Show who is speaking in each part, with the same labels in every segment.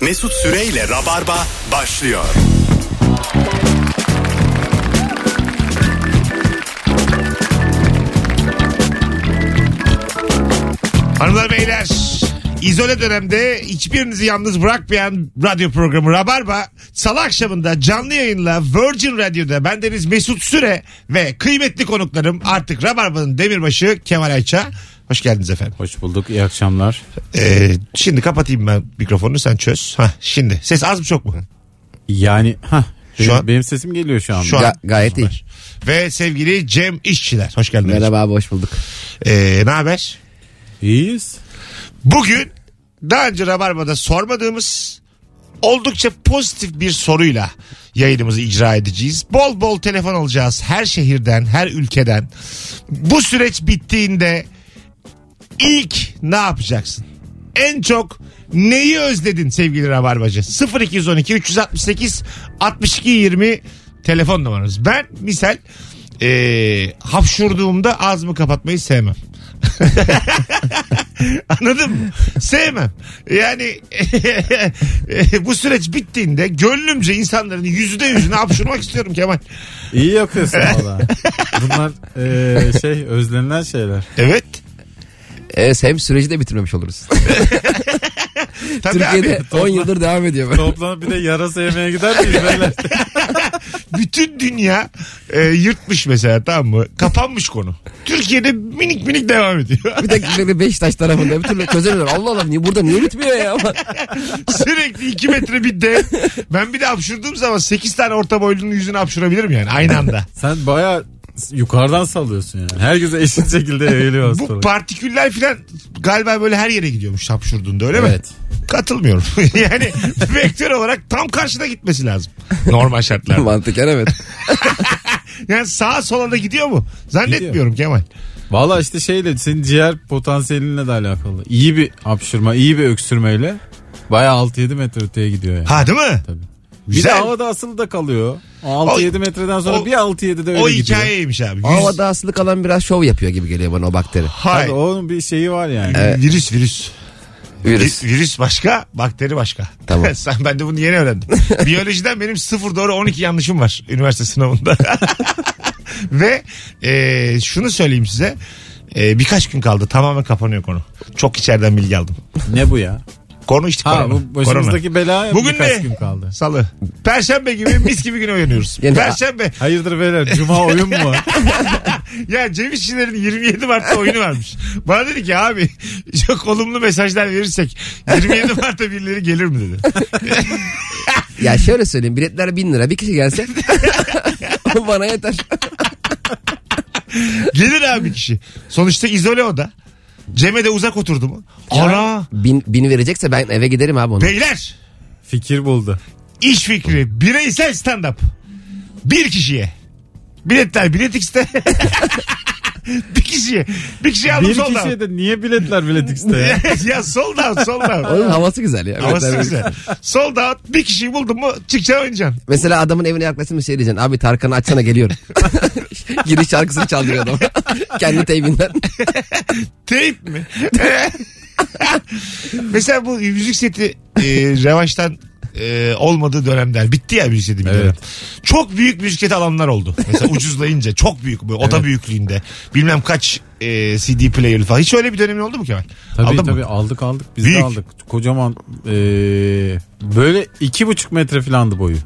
Speaker 1: Mesut Süreyle Rabarba başlıyor.
Speaker 2: Hanımlar beyler izole dönemde hiçbirinizi yalnız bırakmayan radyo programı Rabarba salı akşamında canlı yayınla Virgin Radio'da bendeniz Mesut Süre ve kıymetli konuklarım artık Rabarba'nın demirbaşı Kemal Ayça. Hoş geldiniz efendim.
Speaker 3: Hoş bulduk. iyi akşamlar.
Speaker 2: Ee, şimdi kapatayım ben mikrofonu sen çöz. Hah, şimdi ses az mı çok mu?
Speaker 3: Yani ha
Speaker 2: Şu an-
Speaker 3: benim sesim geliyor şu an.
Speaker 2: Şu an-
Speaker 4: Ga- gayet iyi.
Speaker 2: Ve sevgili Cem İşçiler. Hoş geldiniz.
Speaker 4: Merhaba abi hoş bulduk.
Speaker 2: Ee, ne haber?
Speaker 3: İyiyiz.
Speaker 2: Bugün daha önce Rabarba'da sormadığımız oldukça pozitif bir soruyla yayınımızı icra edeceğiz. Bol bol telefon alacağız her şehirden, her ülkeden. Bu süreç bittiğinde ilk ne yapacaksın? En çok neyi özledin sevgili Rabarbacı? 0212 368 62 20 telefon numaramız. Ben misal eee hapşurduğumda ağzımı kapatmayı sevmem. Anladın mı? Sevmem. Yani bu süreç bittiğinde gönlümce insanların yüzde yüzüne hapşurmak istiyorum Kemal.
Speaker 3: İyi yapıyorsun valla. Bunlar e, şey özlenilen şeyler.
Speaker 2: Evet.
Speaker 4: Evet, E, hem süreci de bitirmemiş oluruz.
Speaker 2: Tabii
Speaker 4: Türkiye'de
Speaker 2: abi.
Speaker 4: 10 yıldır devam ediyor. böyle.
Speaker 3: Toplanıp bir de yarasa yemeye gider miyiz beyler?
Speaker 2: Bütün dünya e, yırtmış mesela tamam mı? Kapanmış konu. Türkiye'de minik minik devam ediyor.
Speaker 4: bir tek böyle Beşiktaş tarafında bir türlü çözemiyorlar. Allah Allah niye burada niye bitmiyor ya?
Speaker 2: Sürekli 2 metre bir dev. Ben bir de hapşurduğum zaman 8 tane orta boylunun yüzüne hapşurabilirim yani aynı anda.
Speaker 3: Sen baya yukarıdan sallıyorsun yani. Herkese eşit şekilde yayılıyor
Speaker 2: Bu
Speaker 3: hastalık.
Speaker 2: partiküller filan galiba böyle her yere gidiyormuş hapşurduğunda öyle mi?
Speaker 3: Evet.
Speaker 2: Katılmıyorum. yani vektör olarak tam karşına gitmesi lazım. Normal şartlarda.
Speaker 4: Mantıken evet.
Speaker 2: Yani sağa sola da gidiyor mu? Zannetmiyorum Kemal.
Speaker 3: Valla işte şeyle senin ciğer potansiyelinle de alakalı. İyi bir hapşırma, iyi bir öksürmeyle baya 6-7 metre öteye gidiyor yani.
Speaker 2: Ha değil mi?
Speaker 3: Tabii. Bir
Speaker 2: Güzel.
Speaker 3: de havada asılı da kalıyor. O
Speaker 2: O-
Speaker 3: 6-7 metreden sonra
Speaker 2: o-
Speaker 3: bir 6-7 de öyle
Speaker 2: o
Speaker 3: gidiyor.
Speaker 2: hikayeymiş abi. Yüz-
Speaker 4: Havada asılı kalan biraz şov yapıyor gibi geliyor bana o bakteri.
Speaker 2: Hay.
Speaker 3: Tabii onun bir şeyi var yani.
Speaker 2: Virüs virüs.
Speaker 4: Virüs.
Speaker 2: Vi- virüs başka, bakteri başka.
Speaker 4: Tamam.
Speaker 2: Sen ben de bunu yeni öğrendim. Biyolojiden benim sıfır doğru 12 yanlışım var üniversite sınavında. Ve e, şunu söyleyeyim size. E, birkaç gün kaldı tamamen kapanıyor konu. Çok içeriden bilgi aldım.
Speaker 3: Ne bu ya?
Speaker 2: Konu işte
Speaker 3: Ha
Speaker 2: korona.
Speaker 3: bu başımızdaki
Speaker 2: Korona.
Speaker 3: bela
Speaker 2: Bugün
Speaker 3: Bugün birkaç
Speaker 2: ne?
Speaker 3: gün kaldı.
Speaker 2: Salı. Perşembe gibi mis gibi güne uyanıyoruz.
Speaker 4: Yani-
Speaker 2: Perşembe.
Speaker 3: Hayırdır beyler cuma oyun mu? var?
Speaker 2: Ya Cem İşçilerin 27 Mart'ta oyunu varmış. Bana dedi ki abi çok olumlu mesajlar verirsek 27 Mart'ta birileri gelir mi dedi.
Speaker 4: Ya şöyle söyleyeyim biletler 1000 lira bir kişi gelse o bana yeter.
Speaker 2: Gelir abi bir kişi. Sonuçta izole o da. Cem'e de uzak oturdu mu? Ana.
Speaker 4: Bin, bin verecekse ben eve giderim abi onu.
Speaker 2: Beyler
Speaker 3: Fikir buldu.
Speaker 2: iş fikri bireysel stand up. Bir kişiye. Biletler Bilet X'te. bir kişiye. Bir kişiye aldım
Speaker 3: Bir
Speaker 2: soldan.
Speaker 3: kişiye de niye biletler bilet X'te ya?
Speaker 2: ya soldan soldan.
Speaker 4: Onun havası güzel ya.
Speaker 2: Havası
Speaker 4: Evet, evet.
Speaker 2: güzel. Soldan bir kişiyi buldun mu çıkacaksın oynayacaksın.
Speaker 4: Mesela adamın evine yaklaşsın bir şey diyeceksin. Abi Tarkan'ı açsana geliyorum. Giriş şarkısını çaldırıyor adam. Kendi teybinden.
Speaker 2: Teyip mi? Mesela bu müzik seti e, revaçtan e, olmadığı dönemler. Bitti ya müzik seti bir
Speaker 3: Evet.
Speaker 2: dönem. Çok büyük müzik seti alanlar oldu. Mesela ucuzlayınca çok büyük. Böyle oda büyüklüğünde. Bilmem kaç e, CD player falan. Hiç öyle bir dönemin oldu mu Kemal?
Speaker 3: Tabii
Speaker 2: Aldın
Speaker 3: tabii
Speaker 2: Mı?
Speaker 3: aldık aldık biz
Speaker 2: Büyük.
Speaker 3: de aldık. Kocaman eee, böyle iki buçuk metre filandı boyu.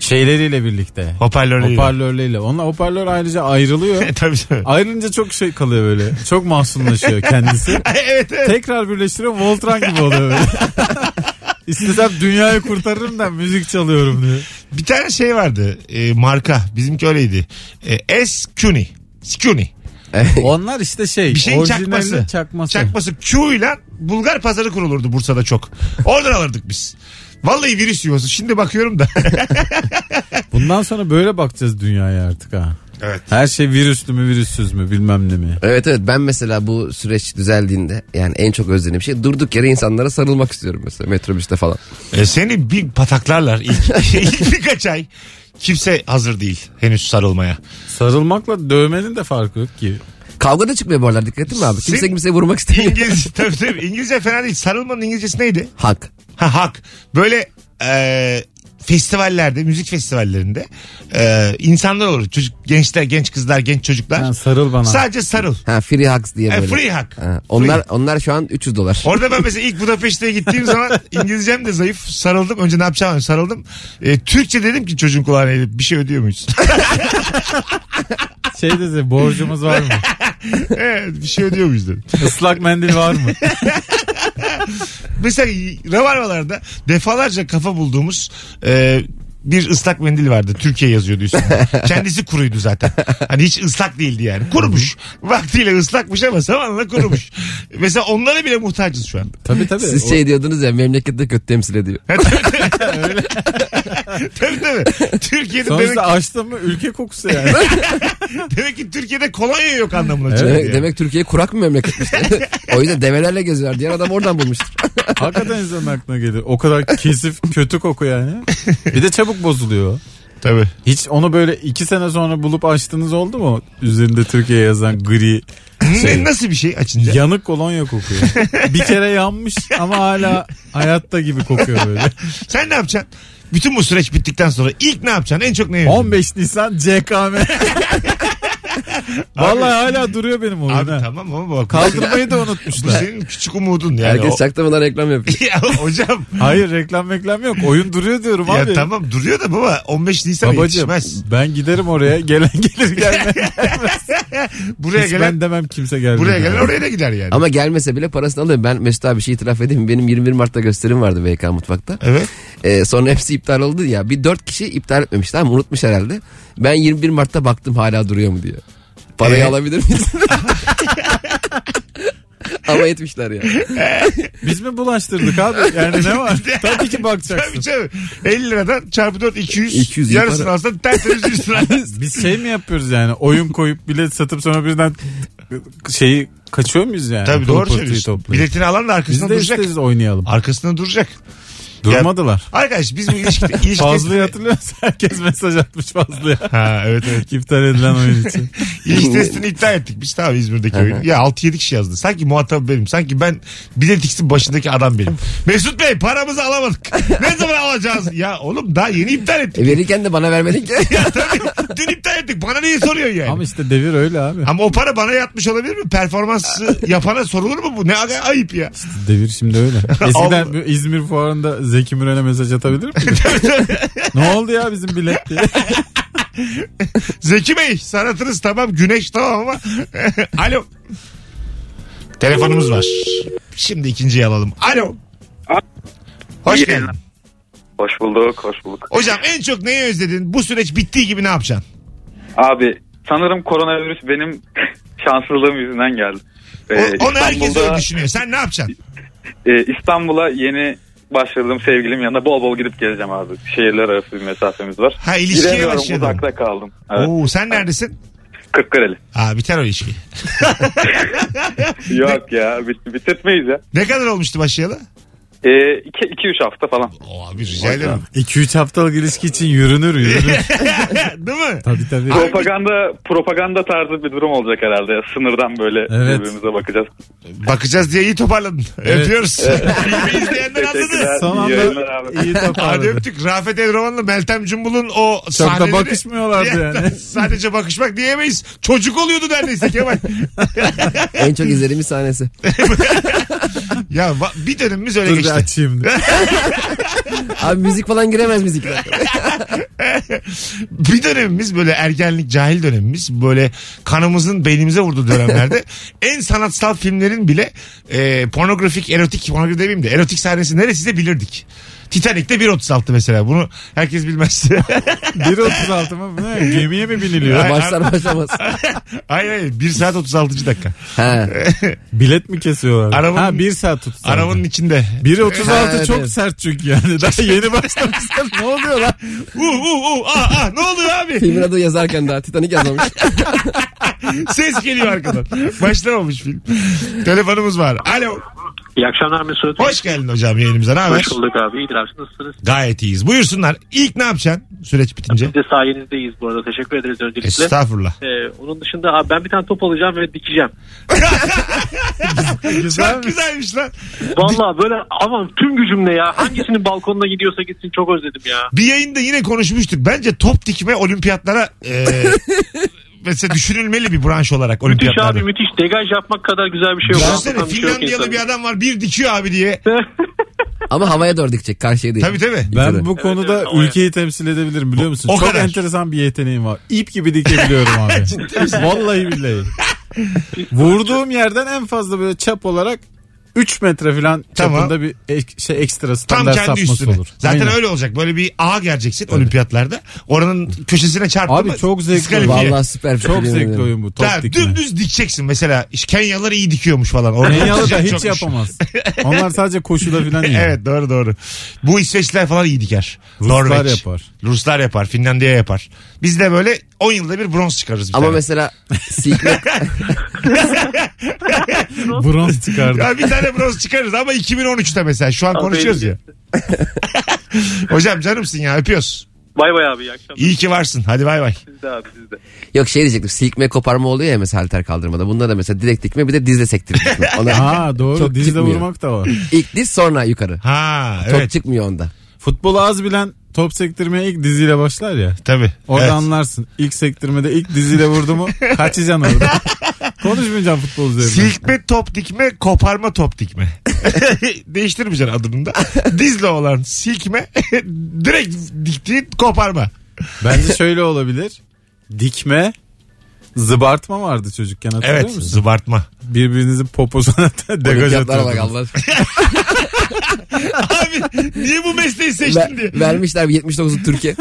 Speaker 3: Şeyleriyle birlikte.
Speaker 2: Hoparlörleriyle.
Speaker 3: Hoparlörleriyle. Onunla hoparlör ayrıca ayrılıyor.
Speaker 2: tabii tabii.
Speaker 3: Ayrılınca çok şey kalıyor böyle. Çok mahzunlaşıyor kendisi.
Speaker 2: evet evet.
Speaker 3: Tekrar birleştiriyor Voltran gibi oluyor böyle. İstesem dünyayı kurtarırım da müzik çalıyorum diyor.
Speaker 2: Bir tane şey vardı. e, marka. Bizimki öyleydi. E, S. Cuny. Cuny.
Speaker 3: Onlar işte şey.
Speaker 2: Bir şeyin
Speaker 3: orijinalinin
Speaker 2: çakması.
Speaker 3: çakması.
Speaker 2: Çakması Q ile Bulgar pazarı kurulurdu Bursa'da çok. Oradan alırdık biz. Vallahi virüs yiyorsun. Şimdi bakıyorum da.
Speaker 3: Bundan sonra böyle bakacağız dünyaya artık ha.
Speaker 2: evet.
Speaker 3: Her şey virüslü mü virüssüz mü bilmem ne mi.
Speaker 4: Evet evet ben mesela bu süreç düzeldiğinde yani en çok özlediğim şey durduk yere insanlara sarılmak istiyorum mesela metrobüste falan.
Speaker 2: E, seni bir pataklarlar ilk, ilk birkaç ay. Kimse hazır değil henüz sarılmaya.
Speaker 3: Sarılmakla dövmenin de farkı yok ki.
Speaker 4: Kavga da çıkmıyor bu aralar dikkat ettin mi abi? Kimse
Speaker 2: Sen-
Speaker 4: kimseye vurmak istemiyor.
Speaker 2: İngiliz, tabii tabii. İngilizce fena değil. Sarılmanın İngilizcesi neydi?
Speaker 4: Hak.
Speaker 2: Ha, hak. Böyle e, festivallerde, müzik festivallerinde e, insanlar olur. Çocuk, gençler, genç kızlar, genç çocuklar.
Speaker 3: Ha, sarıl bana.
Speaker 2: Sadece sarıl.
Speaker 4: Ha free hugs diye
Speaker 2: E,
Speaker 4: böyle.
Speaker 2: free hak.
Speaker 4: Ha, onlar onlar şu an 300 dolar.
Speaker 2: Orada ben mesela ilk Budapeşte'ye gittiğim zaman İngilizcem de zayıf. Sarıldım. Önce ne yapacağım sarıldım. E, Türkçe dedim ki çocuğun kulağına eğilip, bir şey ödüyor muyuz?
Speaker 3: Şey dedi borcumuz var mı?
Speaker 2: evet bir şey ödüyor muyuz dedim.
Speaker 3: Islak mendil var mı?
Speaker 2: Mesela ravarmalarda defalarca kafa bulduğumuz e, bir ıslak mendil vardı. Türkiye yazıyordu üstünde. Kendisi kuruydu zaten. Hani hiç ıslak değildi yani. Kurumuş. Vaktiyle ıslakmış ama zamanla kurumuş. Mesela onlara bile muhtacız şu an.
Speaker 3: Tabii tabii.
Speaker 4: Siz
Speaker 3: O-
Speaker 4: şey diyordunuz ya memlekette kötü temsil ediyor.
Speaker 2: Tabii tabii. Türkiye'de demek,
Speaker 3: Sonuçta açtı mı ülke kokusu yani.
Speaker 2: demek ki Türkiye'de kolonya yok anlamına çıkıyor.
Speaker 4: Demek,
Speaker 2: yani.
Speaker 4: demek Türkiye kurak bir memleketmiş. o yüzden develerle geziyorlar. Diğer adam oradan bulmuştur.
Speaker 3: Hakikaten insanın aklına gelir. O kadar kesif kötü koku yani. Bir de çabuk bozuluyor.
Speaker 2: Tabii.
Speaker 3: Hiç onu böyle iki sene sonra bulup açtınız oldu mu? Üzerinde Türkiye yazan gri
Speaker 2: Ne- nasıl bir şey açınca?
Speaker 3: yanık kolonya kokuyor. Bir kere yanmış ama hala hayatta gibi kokuyor böyle.
Speaker 2: Sen ne yapacaksın? Bütün bu süreç bittikten sonra ilk ne yapacaksın? En çok ne yapacaksın?
Speaker 3: 15 Nisan CKM. Vallahi hala duruyor benim oyun.
Speaker 2: Abi
Speaker 3: ha.
Speaker 2: tamam ama bak.
Speaker 3: Kaldırmayı da
Speaker 2: Bu
Speaker 3: unutmuşlar.
Speaker 2: senin küçük umudun yani.
Speaker 4: Herkes
Speaker 2: O-
Speaker 4: çaktırmadan reklam yapıyor.
Speaker 2: ya hocam
Speaker 3: Hayır reklam reklam yok. Oyun duruyor diyorum
Speaker 2: ya
Speaker 3: abi.
Speaker 2: tamam duruyor da baba 15 Nisan'a
Speaker 3: Babacım
Speaker 2: yetişmez.
Speaker 3: ben giderim oraya. Gelen gelir gelmez.
Speaker 2: Buraya
Speaker 3: Hiç
Speaker 2: gelen
Speaker 3: ben demem kimse gelmedi.
Speaker 2: buraya gelen oraya da gider yani.
Speaker 4: Ama gelmese bile parasını alıyor. Ben Mesut abi bir şey itiraf edeyim. mi? Benim 21 Mart'ta gösterim vardı BK Mutfak'ta.
Speaker 2: Evet.
Speaker 4: Ee, sonra hepsi iptal oldu ya. Bir dört kişi iptal etmemiş tamam mı? unutmuş herhalde. Ben 21 Mart'ta baktım hala duruyor mu diyor. Parayı
Speaker 3: E?
Speaker 2: Ee?
Speaker 4: alabilir miyiz? Ama etmişler ya.
Speaker 3: Biz mi bulaştırdık abi? Yani ne var? Tabii ki
Speaker 2: Tabii
Speaker 3: bakacaksın.
Speaker 2: tabii. 50 liradan çarpı 4 200.
Speaker 4: 200
Speaker 2: yarısını
Speaker 4: yapar.
Speaker 2: alsan tertemiz 100 lira.
Speaker 3: Biz şey mi yapıyoruz yani? Oyun koyup bilet satıp sonra birden şeyi kaçıyor muyuz yani?
Speaker 2: tabii
Speaker 3: Pul
Speaker 2: doğru
Speaker 3: pırtıyı
Speaker 2: söylüyorsun.
Speaker 3: toplayıp.
Speaker 2: Biletini alan da
Speaker 3: Biz
Speaker 2: arkasında
Speaker 3: de
Speaker 2: duracak.
Speaker 3: isteriz oynayalım.
Speaker 2: Arkasında duracak.
Speaker 3: Durmadılar.
Speaker 2: Arkadaş biz bu ilişki... ilişki
Speaker 3: Fazlı'yı hatırlıyor musun? Herkes mesaj atmış Fazlı'ya.
Speaker 2: Ha evet evet.
Speaker 3: İptal edilen oyun için.
Speaker 2: İlişki testini iptal ettik biz tamam İzmir'deki oyunu. Ya 6-7 kişi yazdı. Sanki muhatap benim. Sanki ben bilet ikisi başındaki adam benim. Mesut Bey paramızı alamadık. ne zaman alacağız? Ya oğlum daha yeni iptal ettik.
Speaker 4: E, verirken de bana vermedin ki.
Speaker 2: Ya tabii dün iptal ettik. Bana niye soruyorsun yani?
Speaker 3: Ama
Speaker 2: Ama,
Speaker 3: işte devir öyle abi.
Speaker 2: o para bana yatmış olabilir mi? Performansı yapana sorulur mu bu? Ne ay- ayıp ya.
Speaker 3: Devir şimdi öyle.
Speaker 2: Allah.
Speaker 3: Eskiden bu İzmir fuarında Zeki Müren'e mesaj atabilir miyim? ne oldu ya bizim bilet diye.
Speaker 2: Zeki Bey sanatınız tamam güneş tamam ama. Alo. Telefonumuz var. Şimdi ikinciyi alalım. Alo. Hoş
Speaker 5: İyi
Speaker 2: geldin.
Speaker 5: yayınlar. Hoş bulduk, hoş bulduk.
Speaker 2: Hocam en çok neyi özledin? Bu süreç bittiği gibi ne yapacaksın?
Speaker 5: Abi sanırım koronavirüs benim şanssızlığım yüzünden geldi.
Speaker 2: O-
Speaker 5: Ee,
Speaker 2: onu herkes
Speaker 5: İstanbul'da,
Speaker 2: öyle düşünüyor. Sen ne yapacaksın?
Speaker 5: e, İstanbul'a yeni başladığım sevgilim yanına bol bol gidip geleceğim abi. Şehirler arası bir mesafemiz var.
Speaker 2: Ha ilişkiye
Speaker 5: Giremiyorum,
Speaker 2: başladın.
Speaker 5: uzakta kaldım. Evet,
Speaker 2: Oo, sen neredesin?
Speaker 5: Kırklareli.
Speaker 2: Aa, biter o ilişki.
Speaker 5: Yok ya bit- bitirtmeyiz ya.
Speaker 2: Ne kadar olmuştu başlayalı?
Speaker 5: 2-3 iki, iki, üç hafta falan.
Speaker 2: Oo, abi rica ederim.
Speaker 3: 2-3 haftalık ilişki için yürünür yürünür.
Speaker 2: Değil mi?
Speaker 3: tabii tabii.
Speaker 5: Propaganda propaganda tarzı bir durum olacak herhalde. Sınırdan böyle
Speaker 3: Evet.
Speaker 5: birbirimize bakacağız.
Speaker 2: Bakacağız diye iyi toparladın.
Speaker 3: Evet.
Speaker 2: Öpüyoruz. Filmi izleyenler anladı.
Speaker 5: Teşekkürler.
Speaker 3: Son
Speaker 5: iyi yayınlar
Speaker 3: anda
Speaker 5: abi.
Speaker 3: iyi
Speaker 2: Hadi
Speaker 3: toparladı.
Speaker 2: öptük. Rafet Elroman'la Meltem Cumbul'un o
Speaker 3: Çok
Speaker 2: sahneleri...
Speaker 3: da bakışmıyorlardı yani.
Speaker 2: Sadece bakışmak diyemeyiz. Çocuk oluyordu neredeyse Kemal.
Speaker 4: en çok izlediğimiz sahnesi.
Speaker 2: ya va- bir dönemimiz öyle
Speaker 3: Dur bir
Speaker 2: geçti.
Speaker 3: açayım. diye.
Speaker 4: Abi müzik falan giremez müzikler.
Speaker 2: bir dönemimiz böyle ergenlik cahil dönemimiz böyle kanımızın beynimize vurduğu dönemlerde en sanatsal filmlerin bile e, pornografik erotik pornografi demeyeyim de erotik sahnesi neresi de bilirdik. Titanik'te 1.36 mesela bunu herkes bilmez.
Speaker 3: 1.36 mı? Bu ne? Gemiye mi biniliyor?
Speaker 4: Başlar başlamaz.
Speaker 2: hayır hayır 1 saat 36. dakika.
Speaker 4: Ha.
Speaker 3: Bilet mi kesiyorlar?
Speaker 2: Arabanın-
Speaker 3: ha 1 saat tutsa.
Speaker 2: Arabanın içinde.
Speaker 3: 1.36
Speaker 4: Ha,
Speaker 3: çok
Speaker 4: evet.
Speaker 3: sert çünkü yani. Daha yeni başlamışlar. ne oluyor lan?
Speaker 2: Uh uh uh ah ah ne oluyor abi?
Speaker 4: Filmin adı yazarken daha Titanic yazmamış.
Speaker 2: Ses geliyor arkadan. Başlamamış film. Telefonumuz var. Alo.
Speaker 6: İyi akşamlar Mesut.
Speaker 2: Hoş geldin hocam yayınımıza. Ne haber?
Speaker 6: Hoş bulduk abi. İyidir abi. Nasılsınız?
Speaker 2: Gayet iyiyiz. Buyursunlar. İlk ne yapacaksın süreç bitince?
Speaker 6: Biz de sayenizdeyiz bu arada. Teşekkür ederiz öncelikle.
Speaker 2: Estağfurullah.
Speaker 6: Ee, onun dışında abi ben bir tane top alacağım ve dikeceğim.
Speaker 2: Çok güzelmiş lan.
Speaker 6: Vallahi böyle aman tüm gücümle ya. Hangisinin balkonuna gidiyorsa gitsin çok özledim ya.
Speaker 2: Bir yayında yine konuşmuştuk. Bence top dikme olimpiyatlara e, mesela düşünülmeli bir branş olarak
Speaker 6: Müthiş
Speaker 2: olimpiyatlarda.
Speaker 6: abi müthiş. Degaj yapmak kadar güzel bir şey yok.
Speaker 2: Düşünsene
Speaker 6: Anlatan bir şey yok
Speaker 2: Finlandiyalı
Speaker 6: insanın.
Speaker 2: bir adam var bir dikiyor abi diye.
Speaker 4: Ama havaya doğru dikecek karşıya değil.
Speaker 2: Tabii tabii.
Speaker 3: Ben bu konuda
Speaker 6: evet, ama
Speaker 3: ülkeyi temsil edebilirim biliyor musun?
Speaker 2: O- o
Speaker 3: Çok
Speaker 2: kadar.
Speaker 3: enteresan bir yeteneğim var. İp gibi dikebiliyorum abi. Vallahi billahi. Vurduğum yerden en fazla böyle çap olarak 3 metre falan
Speaker 2: Tamam.
Speaker 3: çapında bir ek- şey ekstra
Speaker 2: Tam
Speaker 3: standart
Speaker 2: kendi
Speaker 3: sapması
Speaker 2: üstüne.
Speaker 3: olur.
Speaker 2: Zaten
Speaker 3: Aynen.
Speaker 2: öyle olacak. Böyle bir ağa geleceksin olimpiyatlarda. Oranın köşesine çarptın
Speaker 3: Abi
Speaker 2: mı?
Speaker 3: çok zevkli.
Speaker 2: diskalifiye.
Speaker 4: Vallahi süper. bir
Speaker 3: Çok
Speaker 4: fikir, yemin
Speaker 3: zevkli
Speaker 4: ederim.
Speaker 3: oyun bu. Top
Speaker 2: Tamam,
Speaker 3: dikme.
Speaker 2: dümdüz dikeceksin mesela. İşte Kenyalılar iyi dikiyormuş falan. Orada şey
Speaker 3: Kenyalı da hiç
Speaker 2: Çokmuş.
Speaker 3: yapamaz. Onlar sadece koşuda falan iyi.
Speaker 2: Evet doğru doğru. Bu İsveçliler falan iyi diker.
Speaker 3: Ruslar
Speaker 2: Norveç.
Speaker 3: yapar.
Speaker 2: Ruslar yapar. Finlandiya yapar. Biz de böyle 10 yılda bir bronz çıkarırız. Bir
Speaker 4: Ama
Speaker 2: tane.
Speaker 4: mesela sikmek
Speaker 3: Bronz çıkardı.
Speaker 2: Ya bir tane bronz çıkarırız ama 2013'te mesela. Şu an
Speaker 6: Abi,
Speaker 2: konuşuyoruz ya. Hocam canımsın ya öpüyoruz.
Speaker 6: Bay bay abi iyi akşamlar.
Speaker 2: İyi ki varsın. Hadi bay bay.
Speaker 6: Siz de abi siz de.
Speaker 4: yok şey diyecektim silkme koparma oluyor ya mesela halter kaldırmada. Bunda da mesela direkt dikme bir de dizle sektirip dikme. Ona
Speaker 3: Ha doğru
Speaker 4: Çok
Speaker 3: dizle
Speaker 4: çıkmıyor.
Speaker 3: vurmak da var.
Speaker 4: ilk diz sonra yukarı.
Speaker 2: Ha
Speaker 4: Çok
Speaker 2: evet
Speaker 4: çıkmıyor onda.
Speaker 3: Futbolu az bilen top sektirmeye ilk diziyle başlar ya.
Speaker 2: tabii.
Speaker 3: Orada
Speaker 2: Evet.
Speaker 3: anlarsın. İlk sektirmede ilk diziyle vurdu mu kaçacaksın orada. Konuşmayacaksın futbol üzerine.
Speaker 2: Silkme top dikme, koparma top dikme. Değiştirmeyeceksin adını da. Dizle olan silkme, direkt diktiğin koparma.
Speaker 3: Bence şöyle olabilir. Dikme zıbartma vardı çocukken hatırlıyor
Speaker 2: Evet,
Speaker 3: musun?
Speaker 2: zıbartma.
Speaker 3: Birbirinizin poposuna degaj
Speaker 4: Olimpiyatlara bak
Speaker 3: atıyordunuz.
Speaker 4: Allah aşkına.
Speaker 2: Abi niye bu mesleği
Speaker 4: Ver-
Speaker 2: seçtin diye.
Speaker 4: vermişler bir 79 Türkiye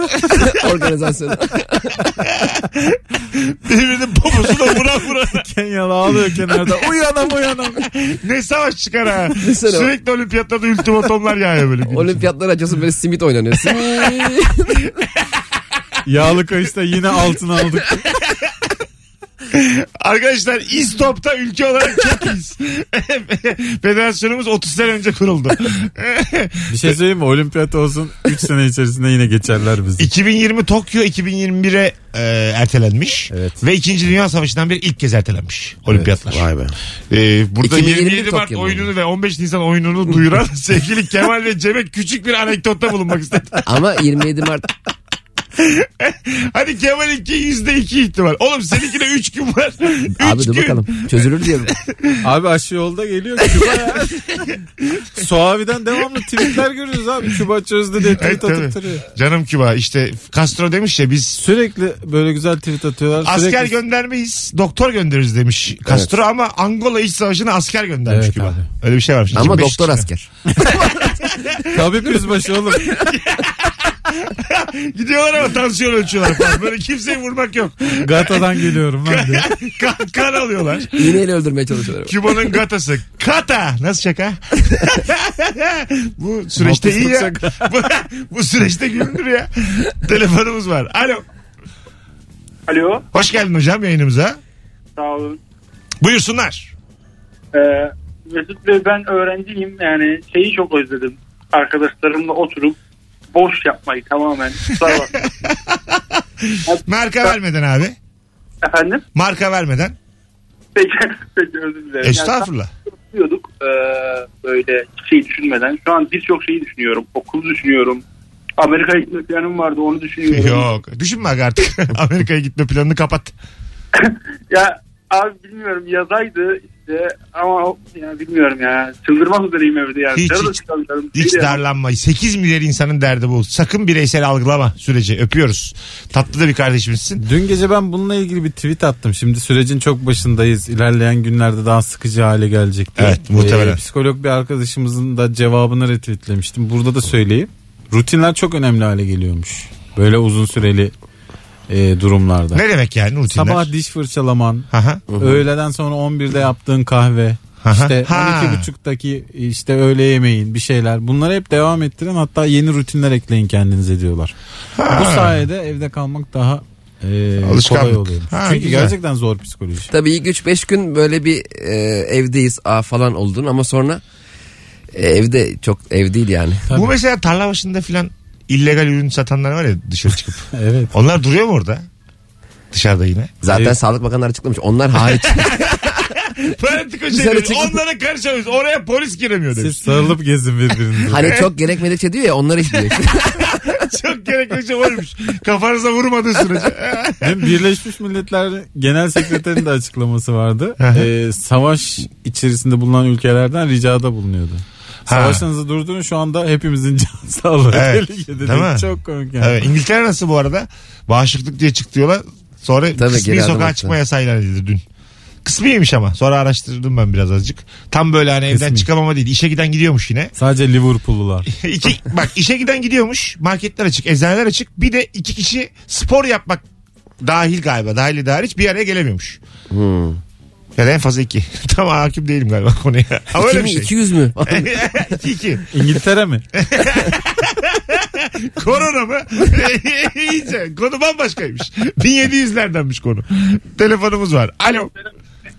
Speaker 4: organizasyonu.
Speaker 2: Birbirinin poposuna vura vura.
Speaker 3: Kenyalı ağlıyor kenarda. Uyanam uyanam.
Speaker 2: ne savaş çıkar ha.
Speaker 4: Mesela-
Speaker 2: Sürekli olimpiyatlarda ultimatomlar yağıyor böyle.
Speaker 4: Olimpiyatlar açıyorsun böyle simit oynanıyor. Simit.
Speaker 3: Yağlı kayışta yine altın aldık.
Speaker 2: Arkadaşlar İstop'ta ülke olarak çok iyiyiz. Federasyonumuz 30 sene önce kuruldu.
Speaker 3: Bir şey söyleyeyim mi? Olimpiyat olsun 3 sene içerisinde yine geçerler bizi.
Speaker 2: 2020 Tokyo 2021'e e, ertelenmiş.
Speaker 3: Evet.
Speaker 2: Ve 2. Dünya Savaşı'ndan beri ilk kez ertelenmiş olimpiyatlar.
Speaker 4: Vay be.
Speaker 2: Ee, burada
Speaker 4: 2021
Speaker 2: 27 Mart
Speaker 4: Tokyo mu?
Speaker 2: oyununu ve 15 Nisan oyununu duyuran sevgili Kemal ve Cem'e küçük bir anekdotta bulunmak istedim.
Speaker 4: Ama 27 Mart
Speaker 2: Hadi Kemal'inki %2 ihtimal. Oğlum seninkine 3 gün var. 3
Speaker 4: abi dur
Speaker 2: gün.
Speaker 4: bakalım çözülür diyorum.
Speaker 3: Abi aşı yolda geliyor Küba ya. Suavi'den devamlı tweetler görüyoruz abi. Küba çözdü diye
Speaker 2: Evet,
Speaker 3: tweet
Speaker 2: tabii.
Speaker 3: atıp duruyor.
Speaker 2: Canım Küba işte Castro demiş ya biz
Speaker 3: Sürekli böyle güzel tweet atıyorlar.
Speaker 2: asker
Speaker 3: Sürekli...
Speaker 2: göndermeyiz doktor göndeririz demiş Castro ama Angola İç Savaşı'na asker göndermiş
Speaker 3: Evet
Speaker 2: Küba.
Speaker 3: abi.
Speaker 2: Öyle bir şey varmış.
Speaker 4: Ama
Speaker 2: 25
Speaker 4: doktor
Speaker 2: kişi.
Speaker 4: asker.
Speaker 3: Tabip yüzbaşı oğlum.
Speaker 2: Gidiyorlar ama tansiyon ölçüyorlar falan. Böyle kimseyi vurmak yok.
Speaker 3: Gata'dan geliyorum ben de.
Speaker 2: kan, kan alıyorlar.
Speaker 4: İğneyle öldürmeye çalışıyorlar.
Speaker 2: Küba'nın gatası. Kata. Nasıl şaka? bu süreçte iyi ya. bu, bu süreçte gülünür ya. Telefonumuz var. Alo.
Speaker 7: Alo.
Speaker 2: Hoş geldin hocam yayınımıza.
Speaker 7: Sağ olun.
Speaker 2: Buyursunlar.
Speaker 7: Ee, Mesut Bey ben öğrenciyim. Yani şeyi çok özledim. Arkadaşlarımla oturup boş yapmayı tamamen. Kusura bakma.
Speaker 2: Marka vermeden abi.
Speaker 7: Efendim?
Speaker 2: Marka vermeden.
Speaker 7: Peki, peki özür dilerim. Yani
Speaker 2: Estağfurullah.
Speaker 7: tam oturuyorduk, ee, böyle hiçbir şey düşünmeden. Şu an birçok şeyi düşünüyorum. Okul düşünüyorum. Amerika'ya gitme planım vardı onu düşünüyorum.
Speaker 2: Yok. Düşünme aga artık. Amerika'ya gitme planını kapat.
Speaker 7: Ya abi bilmiyorum yazaydı işte ama ya bilmiyorum ya. Çıldırmak üzereyim evde yani.
Speaker 2: Hiç,
Speaker 7: Dışarıda
Speaker 2: hiç.
Speaker 7: çıkamıyorum.
Speaker 2: Hiç
Speaker 7: Şeyde-
Speaker 2: darlanma. 8 milyar insanın derdi bu. Sakın bireysel algılama süreci. Öpüyoruz. Tatlı da bir kardeşimizsin.
Speaker 3: Dün gece ben bununla ilgili bir tweet attım. Şimdi sürecin çok başındayız. İlerleyen günlerde daha sıkıcı hale gelecek diye. Ee,
Speaker 2: Evet, muhtemelen.
Speaker 3: psikolog bir arkadaşımızın da cevabını retweetlemiştim. Burada da söyleyeyim. Rutinler çok önemli hale geliyormuş. Böyle uzun süreli e, durumlarda.
Speaker 2: Ne demek yani rutinler?
Speaker 3: Sabah diş fırçalaman,
Speaker 2: Aha.
Speaker 3: öğleden sonra 11'de yaptığın kahve,
Speaker 2: Aha.
Speaker 3: işte
Speaker 2: Ha.
Speaker 3: 12.30'daki işte öğle yemeğin bir şeyler. Bunları hep devam ettirin hatta yeni rutinler ekleyin kendinize diyorlar. Bu sayede evde kalmak daha e,
Speaker 2: Alışkanlık.
Speaker 3: kolay oluyor.
Speaker 2: Ha,
Speaker 3: Çünkü
Speaker 2: güzel.
Speaker 3: gerçekten zor psikoloji.
Speaker 4: Tabii ilk 3-5 gün böyle bir e, evdeyiz aa falan oldun ama sonra E, evde çok ev değil yani.
Speaker 2: Bu mesela tarla başında filan illegal ürün satanlar var ya dışarı çıkıp.
Speaker 3: Evet.
Speaker 2: Onlar duruyor mu orada? Dışarıda yine.
Speaker 4: Zaten
Speaker 3: Evet.
Speaker 4: Sağlık Bakanları açıklamış. Onlar hariç.
Speaker 2: Pratik
Speaker 4: Dışarı
Speaker 2: şeyleri.
Speaker 4: çıkıp-
Speaker 2: Onlara karışamayız. Oraya polis giremiyor demiş.
Speaker 3: Siz sarılıp gezin birbirinize.
Speaker 4: hani çok gerekmedikçe diyor ya onlar hiç diyor.
Speaker 2: Çok gerekli şey olmuş. Kafanıza vurmadığı sürece.
Speaker 3: Dün Birleşmiş Milletler Genel Sekreterinin de açıklaması vardı.
Speaker 2: hı.
Speaker 3: Ee, savaş içerisinde bulunan ülkelerden ricada bulunuyordu.
Speaker 2: Ha.
Speaker 3: Savaşınızı durdurun şu anda hepimizin can sağlığı
Speaker 2: Evet.
Speaker 3: tehlikede.
Speaker 2: Değil mi?
Speaker 3: Çok komik yani.
Speaker 2: Evet, İngiltere nasıl bu arada? Bağışıklık diye çıktı yola. Sonra
Speaker 4: Tabii,
Speaker 2: kısmi
Speaker 4: geri adım
Speaker 2: sokağa
Speaker 4: attı.
Speaker 2: çıkma yasağı ilan edildi dün. Kısmiymiş ama. Sonra araştırdım ben biraz azıcık. Tam böyle hani evden
Speaker 3: Kısmi.
Speaker 2: çıkamama değil. İşe giden gidiyormuş yine.
Speaker 3: Sadece Liverpool'lular.
Speaker 2: iki, bak işe giden gidiyormuş. Marketler açık, eczaneler açık. Bir de iki kişi spor yapmak dahil galiba. Dahil de hariç bir araya gelemiyormuş.
Speaker 4: Hmm.
Speaker 2: Ya da en fazla iki. Tam hakim değilim galiba konuya. Ama
Speaker 4: İki
Speaker 2: öyle
Speaker 4: mi
Speaker 2: bir şey.
Speaker 4: 200 mü?
Speaker 2: iki, iki.
Speaker 3: İngiltere mi?
Speaker 2: Korona mı? İyice. Konu bambaşkaymış. 1700'lerdenmiş konu. Telefonumuz var. Alo.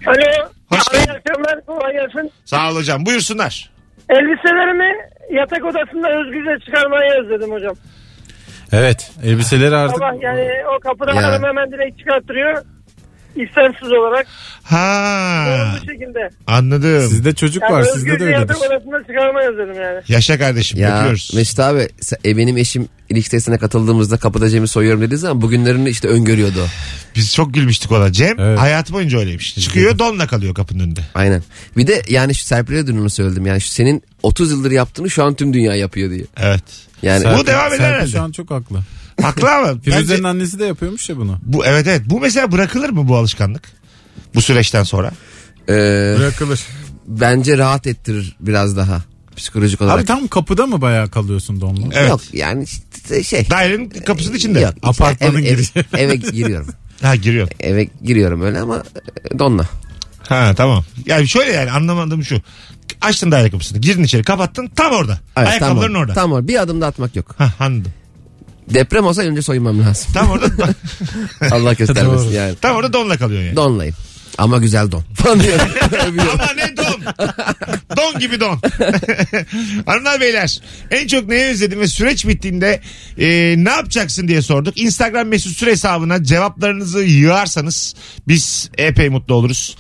Speaker 8: Alo.
Speaker 2: Hoş
Speaker 8: Kolay
Speaker 2: geldin.
Speaker 8: akşamlar. Kolay gelsin.
Speaker 2: Sağ ol hocam. Buyursunlar.
Speaker 8: Elbiselerimi yatak odasında özgürce çıkarmayı özledim hocam.
Speaker 3: Evet. Elbiseleri artık
Speaker 8: Sabah yani o kapıdan
Speaker 4: Ya.
Speaker 8: hanım hemen direkt çıkarttırıyor. İstemsiz olarak.
Speaker 2: Ha
Speaker 8: Bu şekilde.
Speaker 2: anladım.
Speaker 3: sizde çocuk
Speaker 8: Yani
Speaker 3: var.
Speaker 8: özgürce
Speaker 3: Sizde de öyledir.
Speaker 8: yatak odasında çıkarmayı özledim yani.
Speaker 2: Yaşa kardeşim.
Speaker 4: ya
Speaker 2: öpüyoruz.
Speaker 4: Mesut abi sen- e, benim eşim ilişki testine katıldığımızda kapıda Cem'i soyuyorum dediği zaman bugünlerini işte öngörüyordu. o.
Speaker 2: Biz çok gülmüştük ona. Cem
Speaker 3: Evet.
Speaker 2: hayatı boyunca öyleymiş. Çıkıyor donla kalıyor kapının önünde.
Speaker 4: Aynen. Bir de yani şu Serpil'e dönümü söyledim. Yani şu senin 30 yıldır yaptığını şu an tüm dünya yapıyor diye.
Speaker 2: Evet.
Speaker 4: Yani
Speaker 2: Bu devam eder
Speaker 3: Serpil
Speaker 2: herhalde.
Speaker 3: şu an çok haklı.
Speaker 2: Haklı ama.
Speaker 3: Firuze'nin
Speaker 2: bence
Speaker 3: annesi de yapıyormuş ya bunu.
Speaker 2: bu, evet evet. Bu mesela bırakılır mı bu alışkanlık? Bu süreçten sonra.
Speaker 4: e,
Speaker 3: Bırakılır.
Speaker 4: bence rahat ettirir biraz daha psikolojik olarak.
Speaker 3: Abi tam kapıda mı bayağı kalıyorsun donla?
Speaker 2: Evet.
Speaker 4: Yok yani işte şey.
Speaker 2: Dairenin kapısının içinde.
Speaker 4: Yok, işte
Speaker 3: Apartmanın
Speaker 4: eve,
Speaker 3: girişi.
Speaker 4: eve, eve giriyorum.
Speaker 2: Ha giriyor.
Speaker 4: Eve giriyorum öyle ama e, donla.
Speaker 2: Ha tamam. Yani şöyle yani anlamadığım şu. Açtın daire kapısını. Girdin içeri kapattın tam orada.
Speaker 4: Evet,
Speaker 2: Ayakkabıların
Speaker 4: tamam,
Speaker 2: orada.
Speaker 4: Tamam bir adım da atmak yok.
Speaker 2: Ha anladım.
Speaker 4: Deprem olsa önce soyunmam lazım.
Speaker 2: Tam orada
Speaker 4: Allah göstermesin
Speaker 3: Doğru.
Speaker 4: yani.
Speaker 2: tam orada donla kalıyor yani.
Speaker 4: Donlayım. Ama güzel don. Falan diyor. Övüyor.
Speaker 2: Ama ne don. don gibi don. Hanımlar beyler en çok neyi özledin ve süreç bittiğinde e, ne yapacaksın diye sorduk. Instagram mesut süre hesabına cevaplarınızı yığarsanız biz epey mutlu oluruz.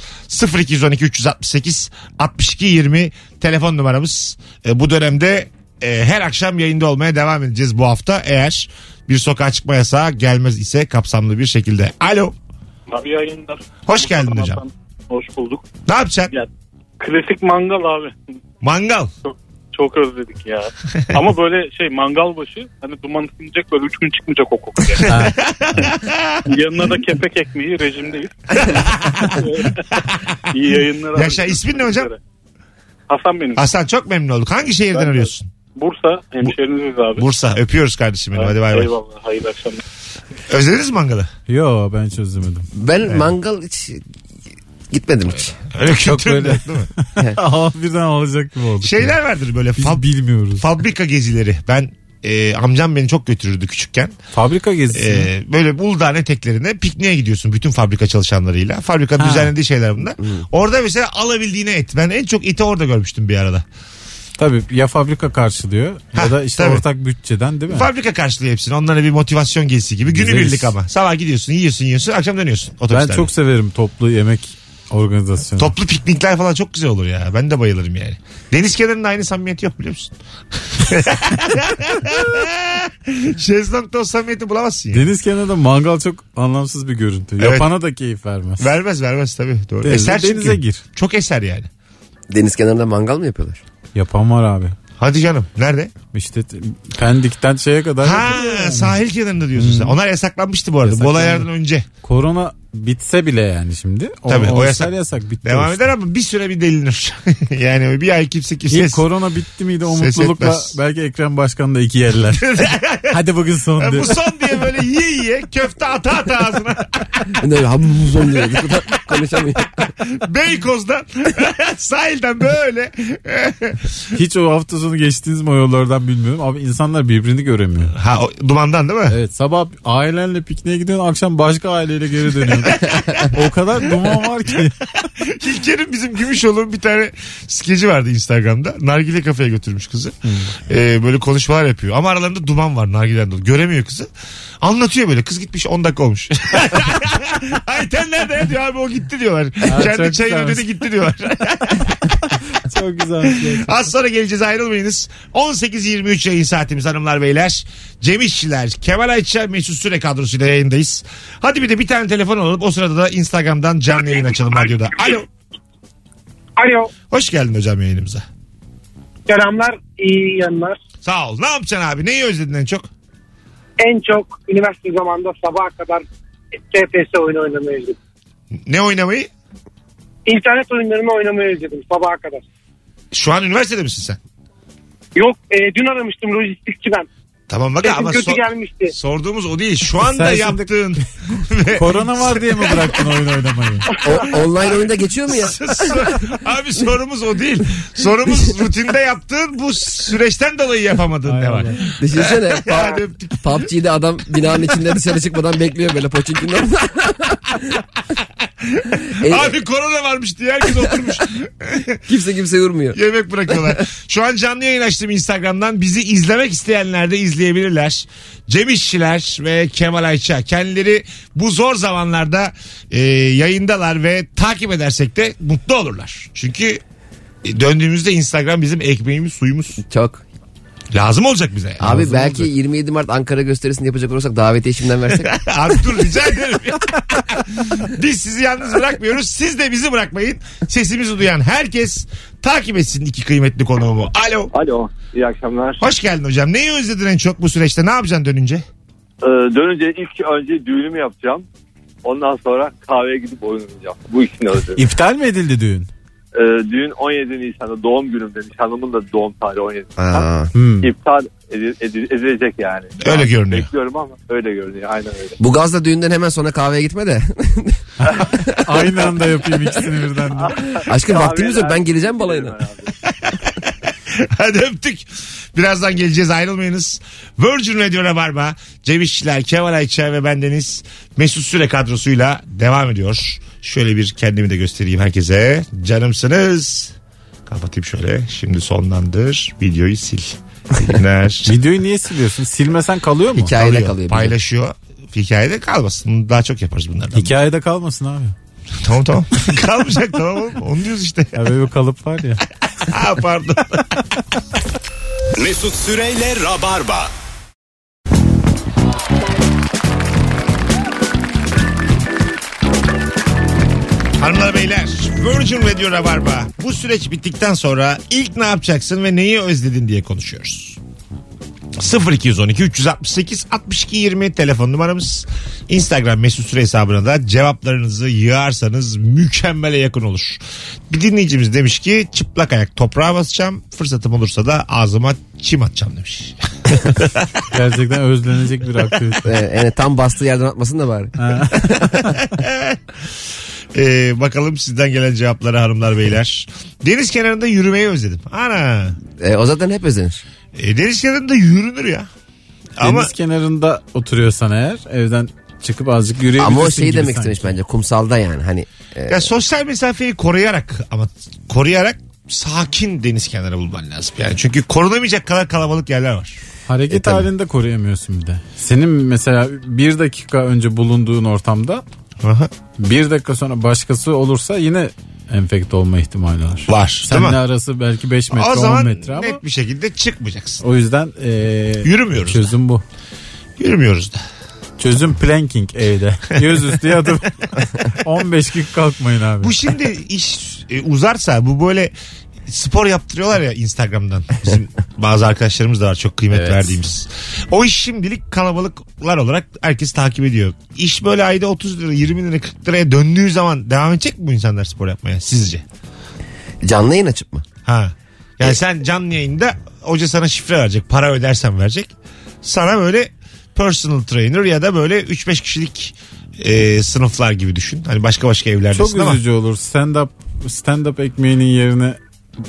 Speaker 2: 0212 368 62 20 telefon numaramız. E, bu dönemde e, her akşam yayında olmaya devam edeceğiz bu hafta. Eğer bir sokağa çıkma yasağı gelmez ise kapsamlı bir şekilde. Alo.
Speaker 7: Abi yayınlar.
Speaker 2: Hoş geldin hocam.
Speaker 7: Hoş bulduk.
Speaker 2: Ne yapacaksın?
Speaker 7: Ya. Klasik mangal abi.
Speaker 2: Mangal.
Speaker 7: Çok özledik ya. Ama böyle şey mangal başı hani duman ısınacak böyle 3 gün çıkmayacak o koku. Yani. Yanına da kepek ekmeği rejimdeyiz. İyi yayınlar abi.
Speaker 2: Yaşa, ismin ne hocam?
Speaker 7: Hasan benim.
Speaker 2: Hasan çok memnun olduk. Hangi şehirden
Speaker 7: Ben de.
Speaker 2: arıyorsun?
Speaker 7: Bursa hemşeriniziz abi.
Speaker 2: Bursa. Öpüyoruz kardeşim benim. Hadi bay bay.
Speaker 7: Eyvallah hayırlı akşamlar.
Speaker 2: Özlediniz mi mangalı?
Speaker 3: Yo ben çözemedim.
Speaker 4: Ben mangal hiç gitmedim hiç.
Speaker 2: Öyle kültürün
Speaker 3: böyle.
Speaker 2: yok, değil mi?
Speaker 3: Aa, birden alacak gibi olduk.
Speaker 2: Şeyler vardır böyle
Speaker 3: Biz
Speaker 2: fab-
Speaker 3: bilmiyoruz.
Speaker 2: fabrika gezileri. Ben e, amcam beni çok götürürdü küçükken.
Speaker 3: Fabrika gezisi. mi?
Speaker 2: E, böyle Uludağ'ın teklerine pikniğe gidiyorsun bütün fabrika çalışanlarıyla. Fabrikanın
Speaker 3: Ha. Hmm.
Speaker 2: düzenlediği şeyler bunlar. Orada mesela alabildiğine et. Ben en çok eti orada görmüştüm bir arada.
Speaker 3: Tabii ya fabrika karşılıyor
Speaker 2: Ha,
Speaker 3: ya da işte
Speaker 2: tabii.
Speaker 3: ortak bütçeden değil mi?
Speaker 2: Fabrika karşılıyor hepsini. Onlara bir motivasyon gezisi gibi.
Speaker 3: Güzeliz.
Speaker 2: Günübirlik ama. Sabah gidiyorsun, yiyorsun, yiyorsun. Akşam dönüyorsun
Speaker 3: ben
Speaker 2: otobüslerle.
Speaker 3: çok severim toplu yemek organizasyonu.
Speaker 2: Toplu piknikler falan çok güzel olur ya. Ben de bayılırım yani. Deniz kenarında aynı samimiyet yok biliyor musun? Şezlong'da o samimiyeti bulamazsın ya.
Speaker 3: Deniz kenarında mangal çok anlamsız bir görüntü.
Speaker 2: Evet.
Speaker 3: Yapana da keyif vermez.
Speaker 2: Vermez vermez tabii doğru.
Speaker 3: Denize-
Speaker 2: eser çünkü.
Speaker 3: denize gir.
Speaker 2: Çok eser yani.
Speaker 4: Deniz kenarında mangal mı yapıyorlar?
Speaker 3: Yapan var abi.
Speaker 2: Hadi canım. Nerede?
Speaker 3: İşte t- Pendik'ten şeye kadar.
Speaker 2: Ha
Speaker 3: yapılıyor yani.
Speaker 2: sahil kenarında diyorsun sen. Onlar yasaklanmıştı bu arada. Bu
Speaker 3: Hmm. Yasaklandı.
Speaker 2: olaylardan önce.
Speaker 3: Korona bitse bile yani şimdi. O,
Speaker 2: Tabii,
Speaker 3: o,
Speaker 2: o
Speaker 3: işler
Speaker 2: yasak.
Speaker 3: yasak. Bitti o
Speaker 2: Devam
Speaker 3: işler.
Speaker 2: eder ama bir süre bir delinir. yani bir ay kimse
Speaker 3: İlk
Speaker 2: kimse.
Speaker 3: korona bitti miydi o
Speaker 2: Ses
Speaker 3: mutlulukla
Speaker 2: etmez.
Speaker 3: belki Ekrem Başkan da iki yerler. Hadi bugün son
Speaker 2: Ha,
Speaker 3: diyor.
Speaker 2: bu son diye böyle yiye yiye köfte ata ata ağzına.
Speaker 4: Ne öyle hamuzon diyor. Konuşamıyor.
Speaker 2: Beykoz'dan sahilden böyle.
Speaker 3: Hiç o hafta sonu geçtiniz mi o yollardan bilmiyorum. Abi insanlar birbirini göremiyor.
Speaker 2: ha o, dumandan değil mi?
Speaker 3: Evet sabah ailenle pikniğe gidiyorsun akşam başka aileyle geri dönüyorsun. o kadar duman var ki.
Speaker 2: İlker'in bizim Gümüşoğlu'nun bir tane skeci vardı Instagram'da. Nargile kafeye götürmüş kızı. Ee, böyle konuşmalar yapıyor. Ama aralarında duman var nargileden dolayı. Göremiyor kızı. Anlatıyor böyle. Kız gitmiş 10 dakika olmuş. Ayten nerede ya? diyor abi o gitti diyorlar. Kendi çayını
Speaker 3: çok güzelmiş.
Speaker 2: ödedi gitti diyorlar.
Speaker 3: Çok güzel. şey.
Speaker 2: Az sonra geleceğiz ayrılmayınız. 18.23 yayın saatimiz hanımlar beyler. Cem İşçiler, Kemal Ayça, Mesut Süre kadrosuyla yayındayız. Hadi bir de bir tane telefon alıp o sırada da Instagram'dan canlı yayın açalım radyoda. Alo.
Speaker 8: Alo.
Speaker 2: Hoş geldin hocam yayınımıza.
Speaker 8: Selamlar. iyi yanlar.
Speaker 2: Sağ ol. Ne yapacaksın abi? Neyi özledin en çok?
Speaker 8: En çok üniversite zamanında sabaha kadar TPS oyunu oynamayı özledim.
Speaker 2: Ne oynamayı?
Speaker 8: İnternet oyunlarını oynamayı özledim sabaha kadar.
Speaker 2: Şu an üniversitede misin sen?
Speaker 8: Yok e, dün aramıştım lojistikçiden.
Speaker 2: Tamam bak
Speaker 8: Sesim
Speaker 2: ama
Speaker 8: kötü
Speaker 2: sor-
Speaker 8: gelmişti.
Speaker 2: sorduğumuz o değil. Şu anda
Speaker 3: Sen şimdi-
Speaker 2: yaptığın
Speaker 3: Korona var diye mi bıraktın oyun oynamayı?
Speaker 4: O- online oyunda geçiyor mu ya?
Speaker 2: Abi sorumuz o değil. Sorumuz rutinde yaptığın bu süreçten dolayı yapamadığın ne var?
Speaker 4: Düşünsene. pa-
Speaker 2: Hadi öptük.
Speaker 4: PUBG'de adam binanın içinde dışarı çıkmadan bekliyor böyle poçinkinden. E,
Speaker 2: Abi korona varmış diye herkes oturmuş.
Speaker 4: kimse kimse vurmuyor.
Speaker 2: Yemek bırakıyorlar. Şu an canlı yayın açtım Instagram'dan. Bizi izlemek isteyenler de izleyebilirler. Cem İşçiler ve Kemal Ayça. Kendileri bu zor zamanlarda e, yayındalar ve takip edersek de mutlu olurlar. Çünkü e, döndüğümüzde Instagram bizim ekmeğimiz suyumuz.
Speaker 4: Çok.
Speaker 2: Lazım olacak bize. yani.
Speaker 4: Abi
Speaker 2: Lazım
Speaker 4: belki
Speaker 2: olacak.
Speaker 4: 27 Mart Ankara gösterisini yapacak olursak davetiye şimdiden versek.
Speaker 2: Abi dur rica ederim. Biz sizi yalnız bırakmıyoruz. Siz de bizi bırakmayın. Sesimizi duyan herkes takip etsin iki kıymetli konuğumu. Alo.
Speaker 5: Alo iyi akşamlar.
Speaker 2: Hoş geldin hocam. Neyi özledin en çok bu süreçte? Ne yapacaksın dönünce?
Speaker 5: Ee, dönünce ilk önce düğünümü yapacağım. Ondan sonra kahveye gidip oyun oynayacağım. Bu ikisini özledim.
Speaker 3: İptal mi edildi düğün?
Speaker 5: Ee, düğün 17 Nisan'da doğum günümde. Nişanlımın da doğum tarihi 17
Speaker 4: Aa.
Speaker 3: Hmm.
Speaker 5: iptal edil- edil- edilecek yani.
Speaker 2: Öyle görünüyor.
Speaker 5: Bekliyorum ama öyle görünüyor. Aynen öyle.
Speaker 4: Bu gazla düğünden hemen sonra kahveye gitme de.
Speaker 3: Aynı anda yapayım ikisini birden. de.
Speaker 4: Aşkım vaktimiz yok ben geleceğim
Speaker 5: Balayına.
Speaker 4: balayına.
Speaker 2: Hadi öptük. Birazdan geleceğiz ayrılmayınız. Virgin Radio Rabarba, Cem İşçiler, Kemal Ayça ve bendeniz Mesut Süre kadrosuyla devam ediyor. Şöyle bir kendimi de göstereyim herkese. Canımsınız. Kapatayım şöyle. Şimdi sonlandır. Videoyu sil. İyi günler.
Speaker 3: Videoyu niye siliyorsun? Silmesen kalıyor mu?
Speaker 4: Hikayede kalıyor. bir de.
Speaker 2: Paylaşıyor. Hikayede kalmasın. Daha çok yaparız bunlardan.
Speaker 3: Hikayede kalmasın abi.
Speaker 2: tamam tamam. Kalmayacak tamam oğlum. Onu diyoruz işte.
Speaker 3: Ya böyle bir kalıp var ya.
Speaker 2: ha pardon.
Speaker 1: Mesut Süreyle Rabarba.
Speaker 2: Hanımlar beyler Virgin Radio Rabarba bu süreç bittikten sonra ilk ne yapacaksın ve neyi özledin diye konuşuyoruz. 0212 368 62 20 telefon numaramız. Instagram mesut süre hesabına da cevaplarınızı yığarsanız mükemmele yakın olur. Bir dinleyicimiz demiş ki çıplak ayak toprağa basacağım fırsatım olursa da ağzıma çim atacağım demiş.
Speaker 3: Gerçekten özlenecek bir aktivite.
Speaker 4: Ee, yani tam bastığı yerden atmasın da bari.
Speaker 2: Ee, bakalım sizden gelen cevaplara hanımlar beyler. Deniz kenarında yürümeyi özledim. Ana
Speaker 4: Ee, o zaten hep özenir.
Speaker 2: E, deniz kenarında yürünür ya. Ama
Speaker 3: Deniz kenarında oturuyorsan eğer evden çıkıp azıcık yürüyebilirsin
Speaker 4: Ama o şeyi
Speaker 3: gibi
Speaker 4: demek
Speaker 3: sanki.
Speaker 4: istemiş bence kumsalda yani hani. e,
Speaker 2: ya sosyal mesafeyi koruyarak ama koruyarak sakin deniz kenarı bulman lazım. Yani çünkü korunamayacak kadar kalabalık yerler var.
Speaker 3: Hareket
Speaker 4: E, tabii.
Speaker 3: halinde koruyamıyorsun bir de. Senin mesela bir dakika önce bulunduğun ortamda
Speaker 2: Aha.
Speaker 3: bir dakika sonra başkası olursa yine enfekte olma ihtimali var.
Speaker 2: Var.
Speaker 3: Seninle
Speaker 2: değil mi?
Speaker 3: arası belki 5 metre
Speaker 2: o
Speaker 3: 10
Speaker 2: zaman
Speaker 3: metre ama
Speaker 2: net bir şekilde çıkmayacaksın.
Speaker 3: o yüzden eee,
Speaker 2: Yürümüyoruz. da.
Speaker 3: çözüm bu.
Speaker 2: Yürümüyoruz da.
Speaker 3: Çözüm planking evde. Yüz üstü yatıp 15 gün kalkmayın abi.
Speaker 2: Bu şimdi iş e, uzarsa bu böyle spor yaptırıyorlar ya Instagram'dan. Bizim bazı arkadaşlarımız da var çok kıymet
Speaker 3: Evet.
Speaker 2: verdiğimiz. O iş şimdilik kalabalıklar olarak herkes takip ediyor. İş böyle ayda 30 lira 20 lira 40 liraya döndüğü zaman devam edecek mi bu insanlar spor yapmaya sizce?
Speaker 4: Canlı yayın açıp mı?
Speaker 2: Ha. Yani sen canlı yayında hoca sana şifre verecek. Para ödersen verecek. Sana böyle personal trainer ya da böyle 3-5 kişilik e, sınıflar gibi düşün. Hani başka başka
Speaker 3: Çok
Speaker 2: evlerdesin ama.
Speaker 3: üzücü olur. Stand up stand up ekmeğinin yerine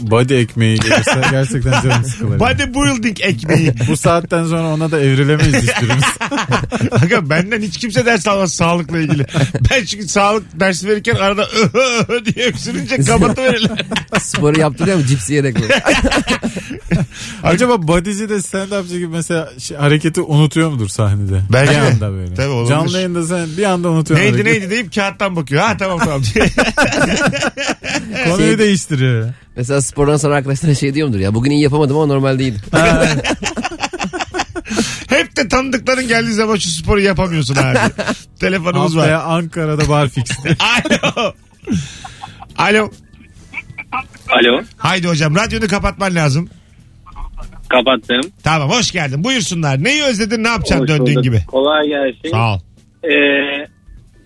Speaker 3: body ekmeği gelirse gerçekten canım sıkılır. yani.
Speaker 2: Bodybuilding ekmeği.
Speaker 3: Bu saatten sonra ona da evrilemeyiz hiçbirimiz.
Speaker 2: Aga benden hiç kimse ders almaz sağlıkla ilgili. Ben çünkü sağlık dersi verirken arada diye öksürünce kapatıverirler.
Speaker 4: Sporu yaptırıyor mu cips yiyerek mi?
Speaker 3: Acaba bodyci de stand upçı gibi mesela şey, hareketi unutuyor mudur sahnede?
Speaker 2: Belki
Speaker 3: bir
Speaker 2: de.
Speaker 3: anda böyle.
Speaker 2: Tabii olabilir.
Speaker 3: Canlı yayında sen bir anda unutuyorsun.
Speaker 2: neydi
Speaker 3: hareketi.
Speaker 2: neydi deyip kağıttan bakıyor. Ha tamam tamam diye.
Speaker 3: Konuyu
Speaker 4: Şey-
Speaker 3: değiştiriyor.
Speaker 4: Mesela spordan sonra arkadaşlara şey diyor mudur ya bugün iyi yapamadım ama normal değil.
Speaker 2: Hep de tanıdıkların geldiği zaman şu sporu yapamıyorsun abi. Telefonumuz var.
Speaker 3: Haftaya Ankara'da bar fix.
Speaker 2: Alo. Alo.
Speaker 5: Alo
Speaker 2: Haydi hocam radyonu kapatman lazım.
Speaker 5: kapattım.
Speaker 2: Tamam hoş geldin. Buyursunlar. Neyi özledin ne yapacaksın
Speaker 9: Hoş
Speaker 2: döndüğün
Speaker 9: bulduk.
Speaker 2: gibi?
Speaker 9: Kolay gelsin.
Speaker 2: Sağ ol.
Speaker 9: Ee,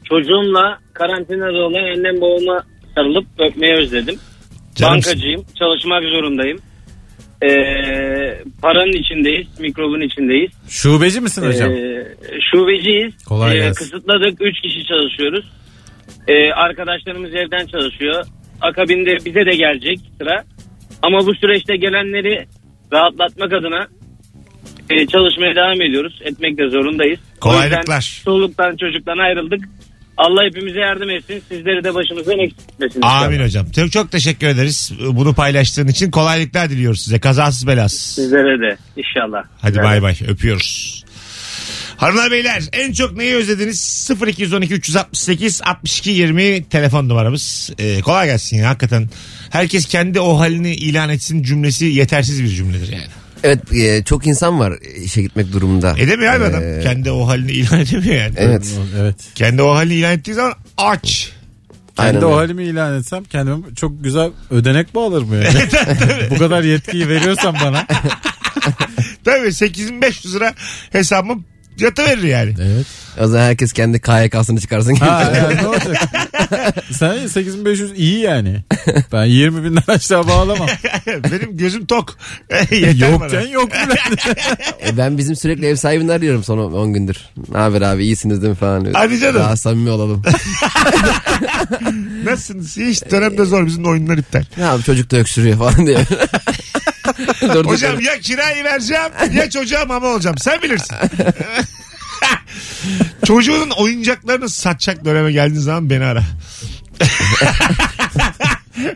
Speaker 9: çocuğumla karantinada olan annem babama sarılıp öpmeyi özledim.
Speaker 2: Canımsın.
Speaker 9: Bankacıyım. Çalışmak zorundayım. Ee, paranın içindeyiz. Mikrobun içindeyiz.
Speaker 3: Şubeci misin hocam?
Speaker 9: Ee, şubeciyiz. Ee,
Speaker 3: Kolay gelsin.
Speaker 9: Kısıtladık. Üç kişi çalışıyoruz. Ee, arkadaşlarımız evden çalışıyor. Akabinde bize de gelecek sıra. Ama bu süreçte gelenleri rahatlatmak adına e, çalışmaya devam ediyoruz. Etmek de zorundayız. O yüzden
Speaker 2: Kolaylıklar.
Speaker 9: Çoluktan çocuktan ayrıldık. Allah hepimize yardım etsin. Sizleri de başımızdan eksik etmesin.
Speaker 2: Amin
Speaker 9: inşallah.
Speaker 2: hocam. Çok çok teşekkür ederiz bunu paylaştığın için. Kolaylıklar diliyoruz size. Kazasız belasız.
Speaker 9: Sizlere de inşallah.
Speaker 2: Hadi bay bay öpüyoruz. Hanımlar beyler en çok neyi özlediniz? 0212 368 62 20 telefon numaramız. Ee, kolay gelsin ya hakikaten. Herkes kendi o halini ilan etsin cümlesi yetersiz bir cümledir yani.
Speaker 4: Evet e, çok insan var işe gitmek durumunda.
Speaker 2: Edemiyor abi
Speaker 4: Ee,
Speaker 2: adam. Kendi o halini ilan edemiyor yani.
Speaker 4: Evet.
Speaker 3: Evet.
Speaker 2: Kendi o halini ilan ettiği zaman aç.
Speaker 4: Aynen
Speaker 3: Kendi
Speaker 4: öyle.
Speaker 3: o halimi ilan etsem kendime çok güzel ödenek bağlarım yani. Bu kadar yetkiyi veriyorsan bana.
Speaker 2: Tabii 8500 lira hesabım yatıverir yani.
Speaker 3: Evet.
Speaker 4: O zaman herkes kendi KYK'sını çıkarsın.
Speaker 3: Ha, yani ne olacak? Sen 8500 iyi yani. Ben 20 binden aşağı bağlamam.
Speaker 2: Benim gözüm tok. Yeter bana.
Speaker 3: Yokken yok bile.
Speaker 4: E, ben bizim sürekli ev sahibini arıyorum son 10 gündür. Ne haber abi iyisiniz değil mi falan. diyor.
Speaker 2: Hadi canım.
Speaker 4: Daha samimi olalım.
Speaker 2: Nasılsınız? Hiç dönemde zor bizim de oyunlar iptal.
Speaker 4: ne abi çocuk da öksürüyor falan diyor. Durduk
Speaker 2: Hocam
Speaker 4: yere.
Speaker 2: ya kirayı vereceğim ya çocuğa mama olacağım. Sen bilirsin. Çocuğunun oyuncaklarını satacak döneme geldiğin zaman beni ara.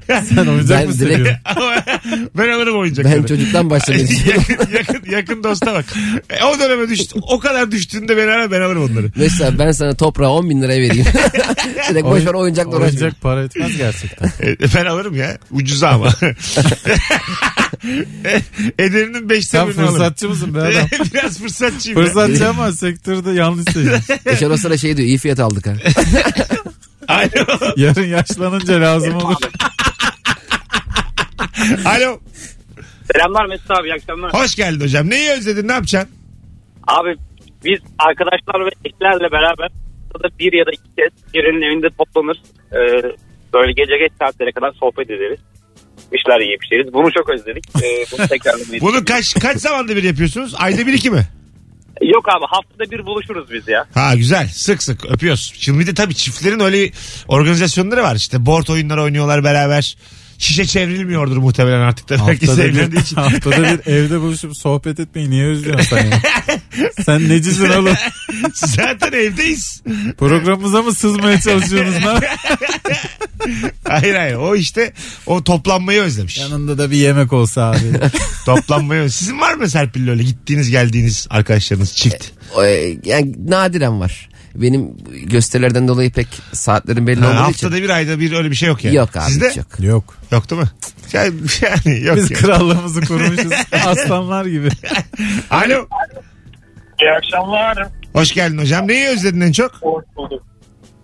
Speaker 3: Sen oyuncak
Speaker 4: Ben
Speaker 3: mı
Speaker 4: direkt-
Speaker 3: seviyorsun?
Speaker 2: ben alırım oyuncakları.
Speaker 4: ben çocuktan başlamayı düşünüyorum.
Speaker 2: yakın, yakın, yakın dosta bak. E, o döneme düştü. O kadar düştüğünde beni ara ben alırım onları.
Speaker 4: Mesela ben sana toprağa 10 bin liraya vereyim. Direkt boş ver oyuncakla uğraşmayayım.
Speaker 3: Oyuncak para etmez gerçekten.
Speaker 2: E, ben alırım ya. Ucuza ama. E, Ederinin beşte
Speaker 3: Sen
Speaker 2: birini alırım.
Speaker 3: fırsatçı mısın be adam?
Speaker 2: Biraz fırsatçıyım. ya.
Speaker 3: Fırsatçı ama sektörde yanlış seçim.
Speaker 4: Eşer o sıra şey diyor iyi fiyat aldık ha.
Speaker 2: Alo.
Speaker 3: Yarın yaşlanınca lazım olur.
Speaker 2: Alo.
Speaker 9: Selamlar Mesut abi. iyi akşamlar.
Speaker 2: Hoş geldin hocam. Neyi özledin? Ne yapacaksın?
Speaker 9: Abi biz arkadaşlar ve eşlerle beraber haftada bir ya da iki kez birinin evinde toplanır. Ee, böyle gece geç saatlere kadar sohbet ederiz. Bir şeyler yiyip içeriz. Bunu çok özledik. Ee, bunu tekrarlamayı
Speaker 2: Bunu kaç kaç zamanda bir yapıyorsunuz? Ayda bir iki mi?
Speaker 9: Yok abi haftada bir buluşuruz biz ya.
Speaker 2: Ha güzel. Sık sık öpüyoruz. Şimdi bir de tabii çiftlerin öyle organizasyonları var. İşte board oyunları oynuyorlar beraber. Şişe çevrilmiyordur muhtemelen artık da. Herkes
Speaker 3: Haftada bir,
Speaker 2: evlendiği için.
Speaker 3: haftada bir evde buluşup sohbet etmeyi niye özlüyorsun sen ya? sen necisin oğlum?
Speaker 2: Zaten evdeyiz.
Speaker 3: Programımıza mı sızmaya çalışıyorsunuz lan?
Speaker 2: Hayır hayır. O işte o toplanmayı özlemiş.
Speaker 3: Yanında da bir yemek olsa abi.
Speaker 2: toplanmayı öz- Sizin var mı Serpil'le öyle gittiğiniz geldiğiniz arkadaşlarınız çift?
Speaker 4: O, e, yani nadiren var. Benim gösterilerden dolayı pek saatlerin belli
Speaker 2: Ha,
Speaker 4: olduğu için.
Speaker 2: haftada bir ayda bir öyle bir şey yok yani.
Speaker 4: Yok abi
Speaker 2: Sizde?
Speaker 4: hiç yok.
Speaker 3: Yok.
Speaker 2: Yok değil mi? Yani, yani yok.
Speaker 3: Biz
Speaker 2: ya.
Speaker 3: krallığımızı kurmuşuz. Aslanlar gibi.
Speaker 2: Alo.
Speaker 7: İyi akşamlar.
Speaker 2: Hoş geldin hocam. Neyi özledin en çok?
Speaker 7: Hoş bulduk.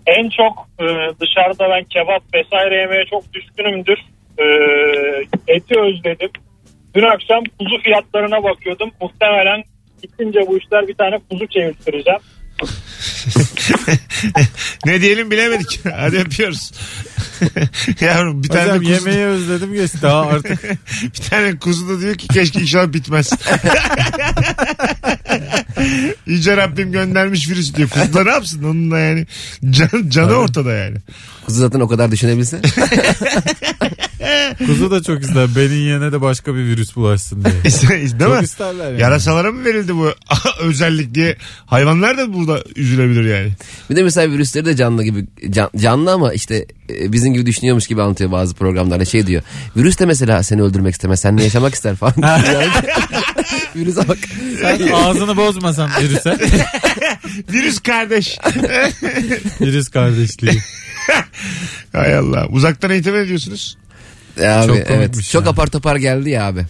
Speaker 7: En çok e, dışarıda ben kebap vesaire yemeye çok düşkünümdür. E, eti özledim. Dün akşam kuzu fiyatlarına bakıyordum. Muhtemelen gittince bu işler bir tane kuzu çevirtireceğim.
Speaker 2: Ne diyelim bilemedik. Hadi öpüyoruz. Yavrum bir tane
Speaker 3: Hocam
Speaker 2: de kuzu,
Speaker 3: yemeği özledim geçti. Daha artık
Speaker 2: bir tane kuzu da diyor ki keşke inşallah bitmez. Yüce Rabbim göndermiş virüs diyor. Kuzla ne yapsın onunla yani. Can, canı ortada yani.
Speaker 4: Kuzu zaten o kadar düşünebilse.
Speaker 3: Kuzu da çok ister. Benim yerine de başka bir virüs bulaşsın diye.
Speaker 2: Değil
Speaker 3: çok
Speaker 2: mi?
Speaker 3: isterler yani.
Speaker 2: Yarasalara mı verildi bu özellik diye? Hayvanlar da burada üzülebilir yani.
Speaker 4: Bir de mesela virüsleri de canlı gibi can- canlı ama işte e, bizim gibi düşünüyormuş gibi anlatıyor bazı programlarda şey diyor. Virüs de mesela seni öldürmek istemez, seninle yaşamak ister falan. Yani- Virüse bak.
Speaker 3: Sen ağzını bozmasan virüse.
Speaker 2: Virüs kardeş.
Speaker 3: Virüs kardeşliği.
Speaker 2: Hay Allah. Uzaktan eğitim ediyorsunuz.
Speaker 4: Ya abi,
Speaker 3: Çok
Speaker 4: çok evet.
Speaker 3: komikmiş
Speaker 4: Çok
Speaker 3: ya.
Speaker 4: apar topar geldi ya abi.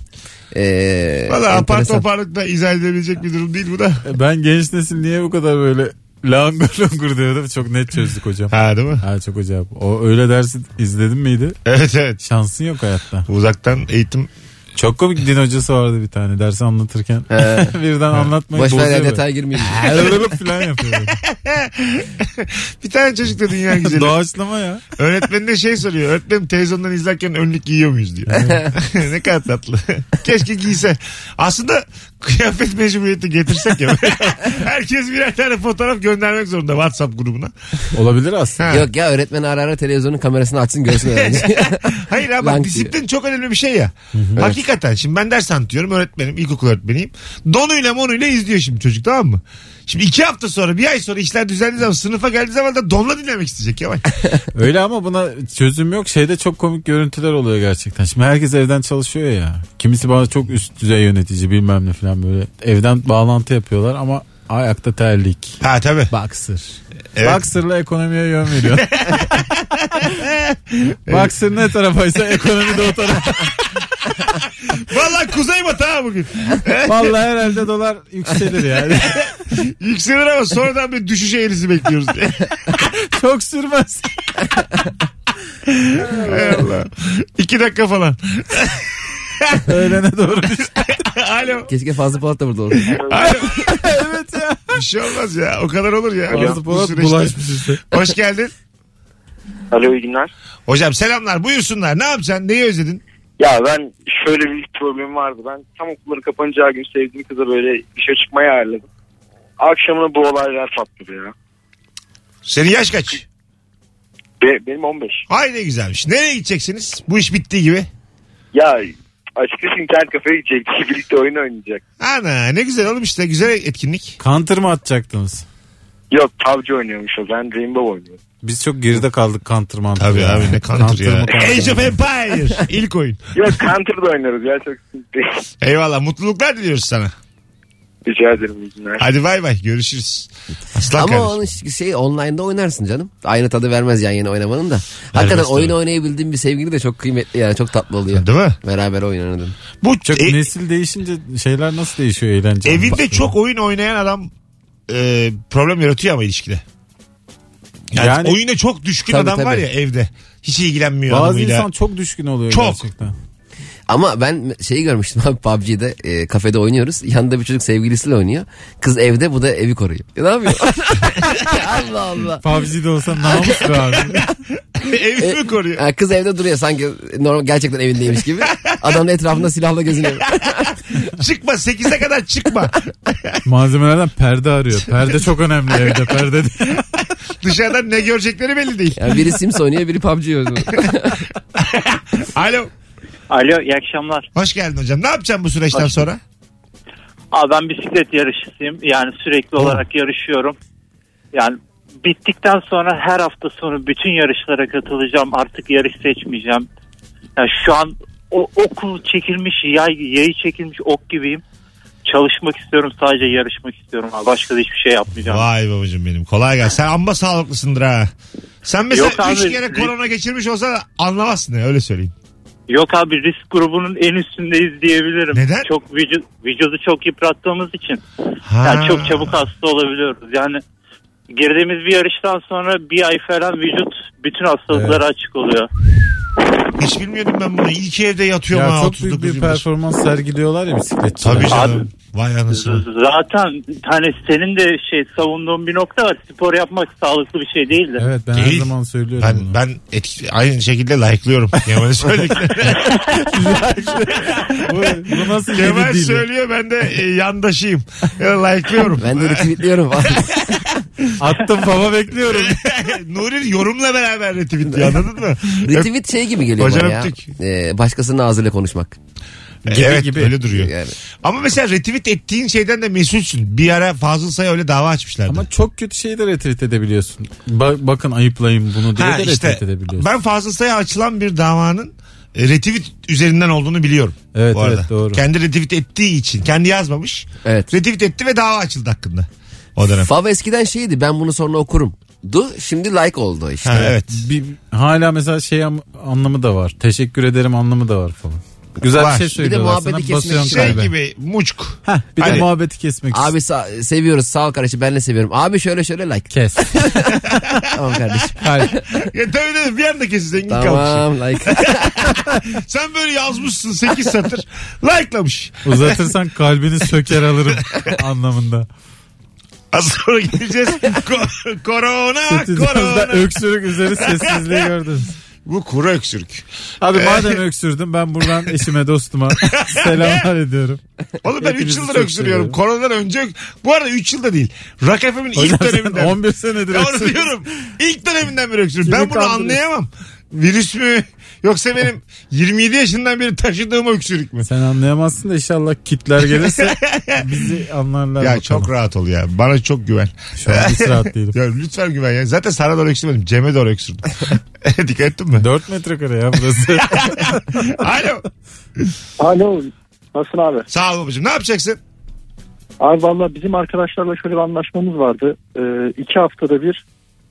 Speaker 4: Ee,
Speaker 2: Valla apar
Speaker 4: enteresan.
Speaker 2: toparlıkla izah edilebilecek bir durum değil bu da.
Speaker 3: Ben genç nesil niye bu kadar böyle langur langur diyordum. Çok net çözdük hocam.
Speaker 2: Ha değil mi?
Speaker 3: Ha çok acayip. O öyle dersi izledin miydi?
Speaker 2: Evet evet.
Speaker 3: Şansın yok hayatta.
Speaker 2: Uzaktan eğitim.
Speaker 3: Çok komik din hocası vardı bir tane dersi anlatırken. Birden anlatmayı
Speaker 4: E, Boş ver
Speaker 3: bozuyor.
Speaker 4: ya
Speaker 3: böyle.
Speaker 4: detay girmeyeyim.
Speaker 3: Erlılık falan yapıyor.
Speaker 2: Bir tane çocuk da dünya güzeli.
Speaker 3: Doğaçlama ya.
Speaker 2: Öğretmenine şey soruyor. Öğretmenim televizyondan izlerken önlük giyiyor muyuz diyor. ne kadar tatlı. Keşke giyse. Aslında kıyafet mecburiyeti getirsek ya. Herkes birer tane fotoğraf göndermek zorunda WhatsApp grubuna.
Speaker 3: Olabilir aslında.
Speaker 2: Ha.
Speaker 4: Yok ya öğretmen ara ara televizyonun kamerasını açsın görsün öğrenci.
Speaker 2: Hayır abi bak
Speaker 4: Lank
Speaker 2: disiplin çok önemli bir şey ya. Hakikaten şimdi ben ders anlatıyorum öğretmenim ilkokul öğretmeniyim. Donuyla monuyla izliyor şimdi çocuk tamam mı? Şimdi iki hafta sonra bir ay sonra işler düzeldiği zaman sınıfa geldiği zaman da donla dinlemek isteyecek Kemal.
Speaker 3: Öyle ama buna çözüm yok. Şeyde çok komik görüntüler oluyor gerçekten. Şimdi herkes evden çalışıyor ya. Kimisi bazı çok üst düzey yönetici bilmem ne falan böyle. Evden bağlantı yapıyorlar ama ayakta terlik.
Speaker 2: ha tabii.
Speaker 3: Boxer.
Speaker 2: Evet.
Speaker 3: Boxer'la ekonomiye yön veriyor. Boxer ne tarafaysa ekonomi de o tarafa.
Speaker 2: Valla kuzey batı ha bugün.
Speaker 3: Vallahi herhalde dolar yükselir yani.
Speaker 2: Yükselir ama sonradan bir düşüş eğrisi bekliyoruz diye.
Speaker 3: çok sürmez.
Speaker 2: Hay Allah. İki dakika falan.
Speaker 3: Öğlene doğru. bir-
Speaker 2: Alo.
Speaker 4: Keşke fazla Polat da burada olsun.
Speaker 2: Alo.
Speaker 3: evet ya.
Speaker 2: Bir şey olmaz ya. O kadar olur ya.
Speaker 3: Fazla
Speaker 2: Bu
Speaker 3: Polat
Speaker 2: süreçte.
Speaker 3: bulaşmış işte.
Speaker 2: Hoş geldin.
Speaker 5: Alo iyi günler.
Speaker 2: Hocam selamlar. Buyursunlar. Ne yapacaksın? Neyi özledin?
Speaker 5: Ya ben şöyle bir problemim vardı. Ben tam okulları kapanacağı gün sevdiğim kıza böyle işe çıkmaya ayarladım. Akşamına bu olaylar patladı ya.
Speaker 2: Senin yaş kaç?
Speaker 5: Be- benim 15.
Speaker 2: Ay ne güzelmiş. Nereye gideceksiniz? Bu iş bittiği gibi.
Speaker 5: Ya açıkçası internet kafeye gidecektik. Birlikte oyun oynayacak.
Speaker 2: Ana ne güzel oğlum işte. Güzel etkinlik.
Speaker 3: Counter mı atacaktınız?
Speaker 5: Yok PUBG oynuyormuş o. Ben Rainbow oynuyorum.
Speaker 3: Biz çok geride kaldık counter mantığı.
Speaker 2: Tabii abi ne counter ya.
Speaker 3: mı counter
Speaker 2: Age of
Speaker 3: mı?
Speaker 2: Empire. İlk oyun.
Speaker 5: Yok Counter'da oynuyoruz ya. Çok sıkıntı değil.
Speaker 2: Eyvallah. Mutluluklar diliyoruz sana.
Speaker 5: Rica ederim iyi günler.
Speaker 2: Hadi bay bay. Görüşürüz. Aslan
Speaker 4: Ama
Speaker 2: kardeşim.
Speaker 4: onun şey online'da oynarsın canım. Aynı tadı vermez yan yana oynamanın da. Hakikaten
Speaker 2: Vermez
Speaker 4: oyun
Speaker 2: tabii.
Speaker 4: oynayabildiğin bir sevgili de çok kıymetli yani çok tatlı oluyor.
Speaker 2: Değil mi?
Speaker 4: Beraber oynanırdın.
Speaker 2: Bu
Speaker 3: Çok
Speaker 2: e-
Speaker 3: nesil değişince şeyler nasıl değişiyor eğlence?
Speaker 2: Evinde
Speaker 3: anlamında?
Speaker 2: çok oyun oynayan adam e, problem yaratıyor ama ilişkide. Yani,
Speaker 3: Yani-
Speaker 2: oyuna çok düşkün
Speaker 4: Tabii,
Speaker 2: adam var
Speaker 4: tabii.
Speaker 2: ya evde. Hiç ilgilenmiyor
Speaker 3: bazı
Speaker 2: hanımıyla.
Speaker 3: insan çok düşkün oluyor
Speaker 2: Çok.
Speaker 3: gerçekten.
Speaker 4: Ama ben şeyi görmüştüm abi PUBG'de e, kafede oynuyoruz. Yanında bir çocuk sevgilisiyle oynuyor. Kız evde bu da evi koruyor. Ya ne yapıyor? Allah Allah.
Speaker 3: PUBG'de olsa namustur abi.
Speaker 2: Evi
Speaker 3: E-
Speaker 2: mi koruyor?
Speaker 4: Ha, kız evde duruyor sanki normal gerçekten evindeymiş gibi. Adam da etrafında silahla geziniyor.
Speaker 2: çıkma 8'e kadar çıkma.
Speaker 3: Malzemelerden perde arıyor. Perde çok önemli evde. Perde diye.
Speaker 2: Dışarıdan ne görecekleri belli değil.
Speaker 4: Yani biri Sims oynuyor biri PUBG oynuyor.
Speaker 2: Alo.
Speaker 6: Alo iyi akşamlar.
Speaker 2: Hoş geldin hocam. Ne yapacaksın bu süreçten sonra?
Speaker 6: Abi ben bisiklet yarışçısıyım. Yani sürekli olarak yarışıyorum. Yani bittikten sonra her hafta sonu bütün yarışlara katılacağım. Artık yarış seçmeyeceğim. Yani şu an o okul çekilmiş, yay, yayı çekilmiş ok gibiyim. Çalışmak istiyorum sadece yarışmak istiyorum abi. Başka da hiçbir şey yapmayacağım.
Speaker 2: Vay babacığım benim. Kolay gelsin. Sen amma sağlıklısındır ha. Sen
Speaker 6: Yok
Speaker 2: mesela
Speaker 6: abi,
Speaker 2: 3 kere
Speaker 6: risk-
Speaker 2: korona geçirmiş olsa anlamazsın ya öyle söyleyeyim.
Speaker 6: Yok abi risk grubunun en üstündeyiz diyebilirim.
Speaker 2: Neden?
Speaker 6: Çok vücut, vücudu çok yıprattığımız için.
Speaker 2: Ha.
Speaker 6: Yani çok çabuk hasta olabiliyoruz. Yani girdiğimiz bir yarıştan sonra bir ay falan vücut bütün hastalıklara açık oluyor.
Speaker 2: Hiç bilmiyordum ben bunu. İyi ki evde yatıyorum
Speaker 3: ya
Speaker 2: ha.
Speaker 3: çok
Speaker 2: 39
Speaker 3: büyük bir
Speaker 2: yıldır.
Speaker 3: performans sergiliyorlar ya bisikletçiler.
Speaker 2: Tabii canım. Vay anasını.
Speaker 6: Zaten hani senin de şey savunduğun bir nokta var. Spor yapmak sağlıklı bir şey değildir.
Speaker 3: Evet ben her
Speaker 2: Değil.
Speaker 3: zaman söylüyorum bunu.
Speaker 2: Ben, ben etki- aynı şekilde like'lıyorum. Kemal'in söylediklerini.
Speaker 3: bu, bu nasıl
Speaker 2: Kemal
Speaker 3: yeni değil?
Speaker 2: söylüyor ben de e, yandaşıyım. E, like'lıyorum.
Speaker 4: Ben de retweetliyorum falan.
Speaker 3: Attım fava bekliyorum.
Speaker 2: Nuri yorumla beraber retweetliyor anladın mı?
Speaker 4: Retweet şey gibi geliyor
Speaker 2: Hocam
Speaker 4: bana ya.
Speaker 2: öptük.
Speaker 4: Ee, başkasının ağzıyla konuşmak.
Speaker 3: Gibi
Speaker 2: evet
Speaker 3: gibi.
Speaker 2: öyle duruyor.
Speaker 4: Yani.
Speaker 2: Ama mesela retweet ettiğin şeyden de mesulsün. Bir ara Fazıl Say'a öyle dava açmışlardı.
Speaker 3: Ama çok kötü şeyi de retweet edebiliyorsun. Ba- bakın ayıplayın bunu diye
Speaker 2: Ha,
Speaker 3: de retweet
Speaker 2: işte,
Speaker 3: edebiliyorsun.
Speaker 2: ben Fazıl Say'a açılan bir davanın e, retweet üzerinden olduğunu biliyorum.
Speaker 3: Evet,
Speaker 2: bu arada.
Speaker 3: evet, doğru.
Speaker 2: Kendi retweet ettiği için. Kendi yazmamış.
Speaker 4: Evet.
Speaker 2: Retweet etti ve dava açıldı hakkında. O dönem.
Speaker 4: Fav eskiden şeydi ben bunu sonra okurum. Du şimdi like oldu işte.
Speaker 2: Ha, evet.
Speaker 3: Bir, hala mesela şey am- anlamı da var. Teşekkür ederim anlamı da var falan. Güzel
Speaker 2: Var. Bir de
Speaker 3: bir şey söylüyorlar
Speaker 4: muhabbeti
Speaker 3: sana.
Speaker 4: kesmek
Speaker 3: Basıyorsun
Speaker 4: için.
Speaker 2: Şey
Speaker 3: kalbe.
Speaker 2: gibi muçk.
Speaker 3: Heh, bir de
Speaker 2: Hani-
Speaker 3: muhabbeti kesmek için.
Speaker 4: Abi sa- seviyoruz sağ ol kardeşim ben de seviyorum. Abi şöyle şöyle like.
Speaker 3: Kes.
Speaker 4: Tamam kardeşim.
Speaker 3: Kalp.
Speaker 2: Ya tabii tabii bir anda kesin zengin kalmış.
Speaker 4: tamam like.
Speaker 2: Sen böyle yazmışsın 8 satır. Like'lamış.
Speaker 3: Uzatırsan kalbini söker alırım anlamında.
Speaker 2: Az sonra geleceğiz. Ko- korona,
Speaker 3: Stüdyomuzda
Speaker 2: korona.
Speaker 3: öksürük üzeri sessizliği gördünüz.
Speaker 2: Bu kuru öksürük.
Speaker 3: Abi madem öksürdüm ben buradan eşime dostuma selamlar ediyorum.
Speaker 2: Oğlum ben 3
Speaker 3: Hepinizi
Speaker 2: yıldır
Speaker 3: çok
Speaker 2: öksürüyorum.
Speaker 3: seviyorum.
Speaker 2: Koronadan önce ök- bu arada 3 yılda değil. Rock FM'in ilk
Speaker 3: Hocam sen
Speaker 2: döneminden.
Speaker 3: 11 senedir
Speaker 2: Ya onu
Speaker 3: öksürüyorsun.
Speaker 2: diyorum. İlk döneminden beri öksürüyorum.
Speaker 3: Kimi
Speaker 2: Ben bunu
Speaker 3: kandırıyorsun?
Speaker 2: anlayamam. Virüs mü yoksa benim 27 yaşından beri taşıdığım öksürük mü?
Speaker 3: Sen anlayamazsın da inşallah kitler gelirse bizi anlarlar.
Speaker 2: Ya
Speaker 3: bakalım.
Speaker 2: çok rahat ol ya. Bana çok güven.
Speaker 3: Şu an hiç rahat değilim.
Speaker 2: Ya lütfen güven ya. Zaten sana doğru öksürmedim. Cem'e doğru öksürdüm. Dikkat ettin mi?
Speaker 3: 4 metrekare ya burası.
Speaker 2: Alo.
Speaker 7: Alo. Nasılsın abi?
Speaker 2: Sağ ol babacığım. Ne yapacaksın?
Speaker 7: Abi valla bizim arkadaşlarla şöyle bir anlaşmamız vardı. Ee, iki haftada bir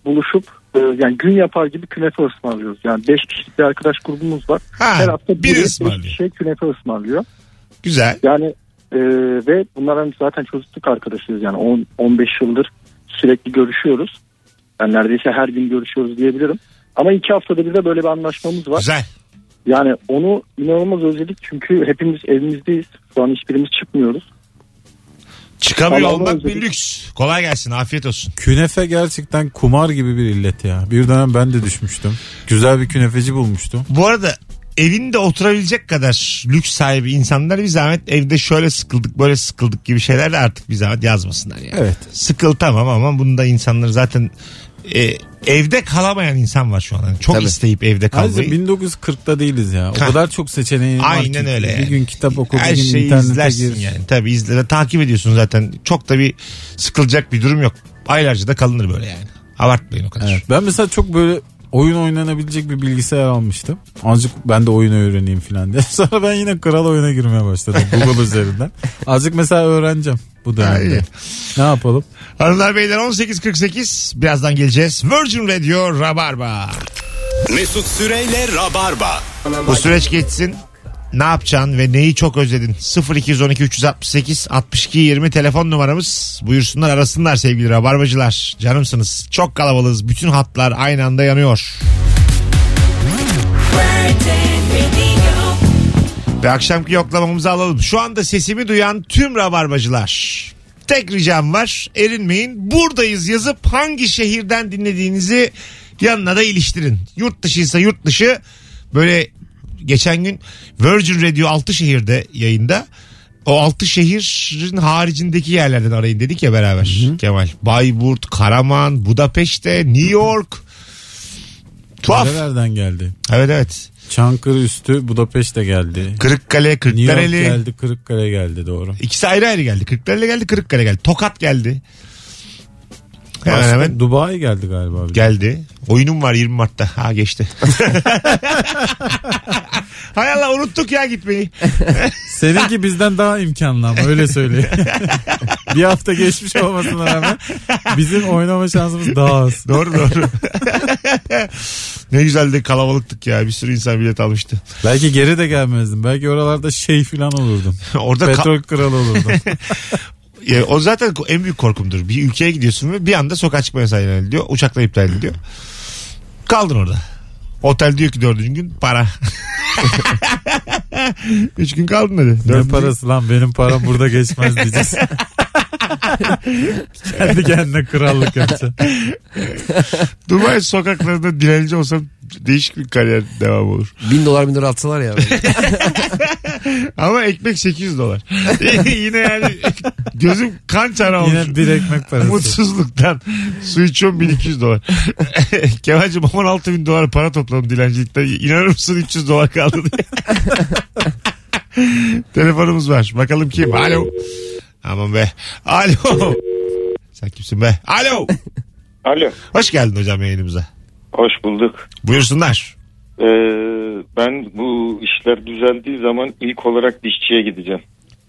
Speaker 7: buluşup e, yani gün yapar gibi künefe ısmarlıyoruz. Yani beş kişilik bir arkadaş grubumuz var. Her
Speaker 2: Ha,
Speaker 7: hafta biri
Speaker 2: biri
Speaker 7: beş
Speaker 2: ısmarlıyor.
Speaker 7: kişiye künefe ısmarlıyor.
Speaker 2: Güzel.
Speaker 7: Yani e, ve bunlar hani zaten çocukluk arkadaşıyız yani 10 15 yıldır sürekli görüşüyoruz. Yani neredeyse her gün görüşüyoruz diyebilirim. Ama iki haftada bir de böyle bir anlaşmamız var.
Speaker 2: Güzel.
Speaker 7: Yani onu inanılmaz özledik çünkü hepimiz evimizdeyiz. Şu an hiçbirimiz çıkmıyoruz.
Speaker 2: Çıkamıyor
Speaker 7: Vallahi
Speaker 2: olmak
Speaker 7: özledim.
Speaker 2: bir lüks. Kolay gelsin. Afiyet olsun.
Speaker 3: Künefe gerçekten kumar gibi bir illet ya. Bir dönem ben de düşmüştüm. Güzel bir künefeci bulmuştum.
Speaker 2: Bu arada evinde oturabilecek kadar lüks sahibi insanlar bir zahmet evde şöyle sıkıldık böyle sıkıldık gibi şeyler de artık bir zahmet yazmasınlar yani.
Speaker 3: Evet.
Speaker 2: Sıkıl tamam ama bunda insanlar zaten e, evde kalamayan insan var şu an. Yani çok
Speaker 4: Tabii.
Speaker 2: isteyip evde
Speaker 3: Ayrıca
Speaker 2: kalmayı.
Speaker 3: 1940'da değiliz ya. O
Speaker 2: Ha.
Speaker 3: kadar çok seçeneğin var ki.
Speaker 2: Aynen öyle yani.
Speaker 3: Bir gün kitap oku,
Speaker 2: Her
Speaker 3: bir gün
Speaker 2: şeyi
Speaker 3: internete
Speaker 2: izlersin
Speaker 3: gir.
Speaker 2: yani. Tabii izle, takip ediyorsun zaten. Çok da bir sıkılacak bir durum yok. Aylarca da kalınır böyle yani. Abartmayın o kadar.
Speaker 3: Evet. Ben mesela çok böyle oyun oynanabilecek bir bilgisayar almıştım. Azıcık ben de oyunu öğreneyim falan diye. Sonra ben yine kral oyuna girmeye başladım Google üzerinden. Azıcık mesela öğreneceğim bu
Speaker 2: Ha, iyi.
Speaker 3: dönemde. ne yapalım?
Speaker 2: Hanımlar beyler 18.48 birazdan geleceğiz. Virgin Radio Rabarba.
Speaker 1: Mesut Süreyle Rabarba.
Speaker 2: Bu süreç geçsin. Ne yapacaksın ve neyi çok özledin? 0212 368 62 20 telefon numaramız. Buyursunlar arasınlar sevgili rabarbacılar. Canımsınız. Çok kalabalığız. Bütün hatlar aynı anda yanıyor. Ve akşamki yoklamamızı alalım. Şu anda sesimi duyan tüm rabarbacılar. Tek ricam var. Erinmeyin. Buradayız yazıp hangi şehirden dinlediğinizi yanına da iliştirin. Yurt dışıysa yurt dışı böyle geçen gün Virgin Radio 6 şehirde yayında. O 6 şehrin haricindeki yerlerden arayın dedik ya beraber Kemal. Bayburt, Karaman, Budapeşte, New York. Tuhaf.
Speaker 3: Nerelerden geldi?
Speaker 2: Evet evet.
Speaker 3: Çankırı üstü Budapeşte geldi.
Speaker 2: Kırıkkale,
Speaker 3: New York
Speaker 2: Kırklareli.
Speaker 3: geldi, Kırıkkale geldi doğru.
Speaker 2: İkisi ayrı ayrı geldi. Kırklareli geldi, Kırıkkale geldi. Tokat geldi. Hemen
Speaker 3: Başka
Speaker 2: hemen
Speaker 3: Dubai geldi galiba. bir de.
Speaker 2: geldi. Oyunum var 20 Mart'ta. Ha geçti. Hay Allah unuttuk ya gitmeyi.
Speaker 3: Seninki bizden daha imkanlı ama öyle söyleyeyim. bir hafta geçmiş olmasına rağmen bizim oynama şansımız daha az.
Speaker 2: Doğru doğru. ne güzel de kalabalıktık ya. Bir sürü insan bilet almıştı.
Speaker 3: Belki geri de gelmezdim. Belki oralarda şey filan olurdum.
Speaker 2: Orada ka-
Speaker 3: Petrol kralı olurdum.
Speaker 2: Ya o zaten en büyük korkumdur. Bir ülkeye gidiyorsun ve bir anda sokağa çıkma yasağı ilan ediliyor. Uçakla iptal ediliyor. Kaldın orada. Otel diyor ki dördüncü gün para. Üç gün kaldın dedi.
Speaker 3: Ne
Speaker 2: Dördüncü-
Speaker 3: parası lan benim param burada geçmez diyeceğiz. Kendi kendine krallık yapacak.
Speaker 2: Dubai sokaklarında dilenci olsam değişik bir kariyer devam olur.
Speaker 4: Bin dolar bin dolar atsalar ya.
Speaker 2: Ama ekmek 800 dolar. Yine yani gözüm kan çanağı olmuş.
Speaker 3: Yine bir ekmek parası.
Speaker 2: Mutsuzluktan su içiyorum 1200 dolar. Kemal'cim 16 bin dolar para topladım dilencilikten. İnanır mısın 300 dolar kaldı diye. Telefonumuz var. Bakalım kim? Alo. Aman be. Alo. Sen kimsin be? Alo.
Speaker 5: Alo.
Speaker 2: Hoş geldin hocam yayınımıza.
Speaker 5: Hoş bulduk.
Speaker 2: Buyursunlar.
Speaker 5: Ee, ben bu işler düzeldiği zaman ilk olarak dişçiye gideceğim.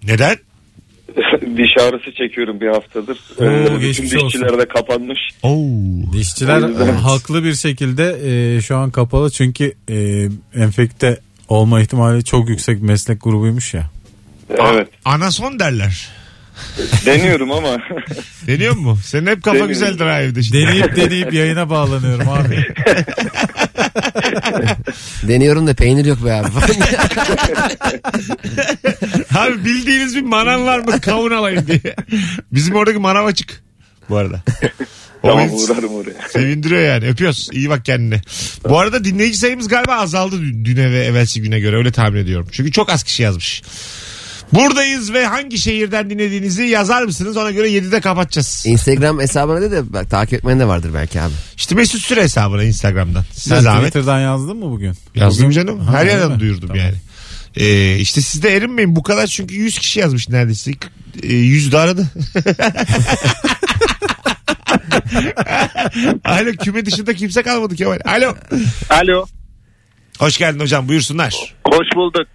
Speaker 2: Neden?
Speaker 5: Diş ağrısı çekiyorum bir haftadır. Ee,
Speaker 3: Oo,
Speaker 5: bütün
Speaker 3: geçmiş
Speaker 5: dişçiler
Speaker 3: olsun.
Speaker 5: de kapanmış.
Speaker 2: Oo.
Speaker 3: Dişçiler
Speaker 5: O yüzden-
Speaker 3: e, haklı bir şekilde e, şu an kapalı çünkü e, enfekte olma ihtimali çok yüksek meslek grubuymuş ya.
Speaker 5: Evet.
Speaker 2: Anason derler.
Speaker 5: Deniyorum ama
Speaker 2: Deniyor mu? Senin hep kafa
Speaker 5: Deniyorum.
Speaker 2: güzeldir ha evde şimdi.
Speaker 3: Deneyip deneyip yayına bağlanıyorum abi.
Speaker 4: Deniyorum da peynir yok be abi.
Speaker 2: Abi bildiğiniz bir manav var mı? Kavun alayım diye. Bizim oradaki manav açık. Bu arada. O
Speaker 5: tamam
Speaker 2: beni
Speaker 5: uğrarım oraya.
Speaker 2: Sevindiriyor yani. Öpüyoruz. İyi bak kendine. Bu arada dinleyici sayımız galiba azaldı dü- düne ve evvelsi güne göre. Öyle tahmin ediyorum. Çünkü çok az kişi yazmış. Buradayız ve hangi şehirden dinlediğinizi yazar mısınız? Ona göre 7'de kapatacağız.
Speaker 4: Instagram hesabına da de bak takip etmen de vardır belki abi.
Speaker 2: İşte Mesut Süre hesabına Instagram'dan. Size
Speaker 3: Sen
Speaker 2: zahmet.
Speaker 3: Twitter'dan yazdın mı bugün?
Speaker 2: Yazdım
Speaker 3: Bugün-
Speaker 2: canım.
Speaker 3: Ha,
Speaker 2: Her
Speaker 3: öyle
Speaker 2: yerden
Speaker 3: mi?
Speaker 2: duyurdum
Speaker 3: Tamam.
Speaker 2: yani. Ee, işte siz de erinmeyin bu kadar çünkü 100 kişi yazmış neredeyse. Ee, 100 de aradı. Alo küme dışında kimse kalmadı Kemal. Alo.
Speaker 7: Alo.
Speaker 2: Hoş geldin hocam buyursunlar.
Speaker 7: Hoş bulduk.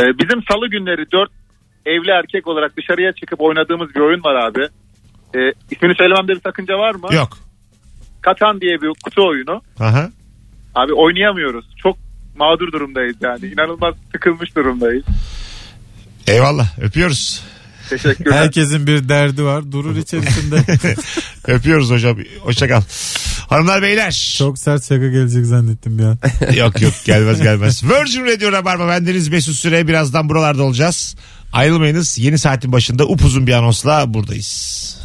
Speaker 7: Ee, bizim salı günleri dört evli erkek olarak dışarıya çıkıp oynadığımız bir oyun var abi. Ee, ismini söylememde bir sakınca var mı?
Speaker 2: Yok.
Speaker 7: Katan diye bir kutu oyunu.
Speaker 2: Aha.
Speaker 7: Abi oynayamıyoruz. Çok mağdur durumdayız yani. İnanılmaz sıkılmış durumdayız.
Speaker 2: Eyvallah öpüyoruz.
Speaker 7: Teşekkürler.
Speaker 3: Herkesin bir derdi var. Durur içerisinde.
Speaker 2: Öpüyoruz hocam. Hoşça kal. Hanımlar beyler.
Speaker 3: Çok sert şaka gelecek zannettim bir an.
Speaker 2: yok yok gelmez gelmez. Virgin Radio Rabarba bendeniz Mesut Süre. Birazdan buralarda olacağız. Ayrılmayınız. Yeni saatin başında upuzun bir anonsla buradayız.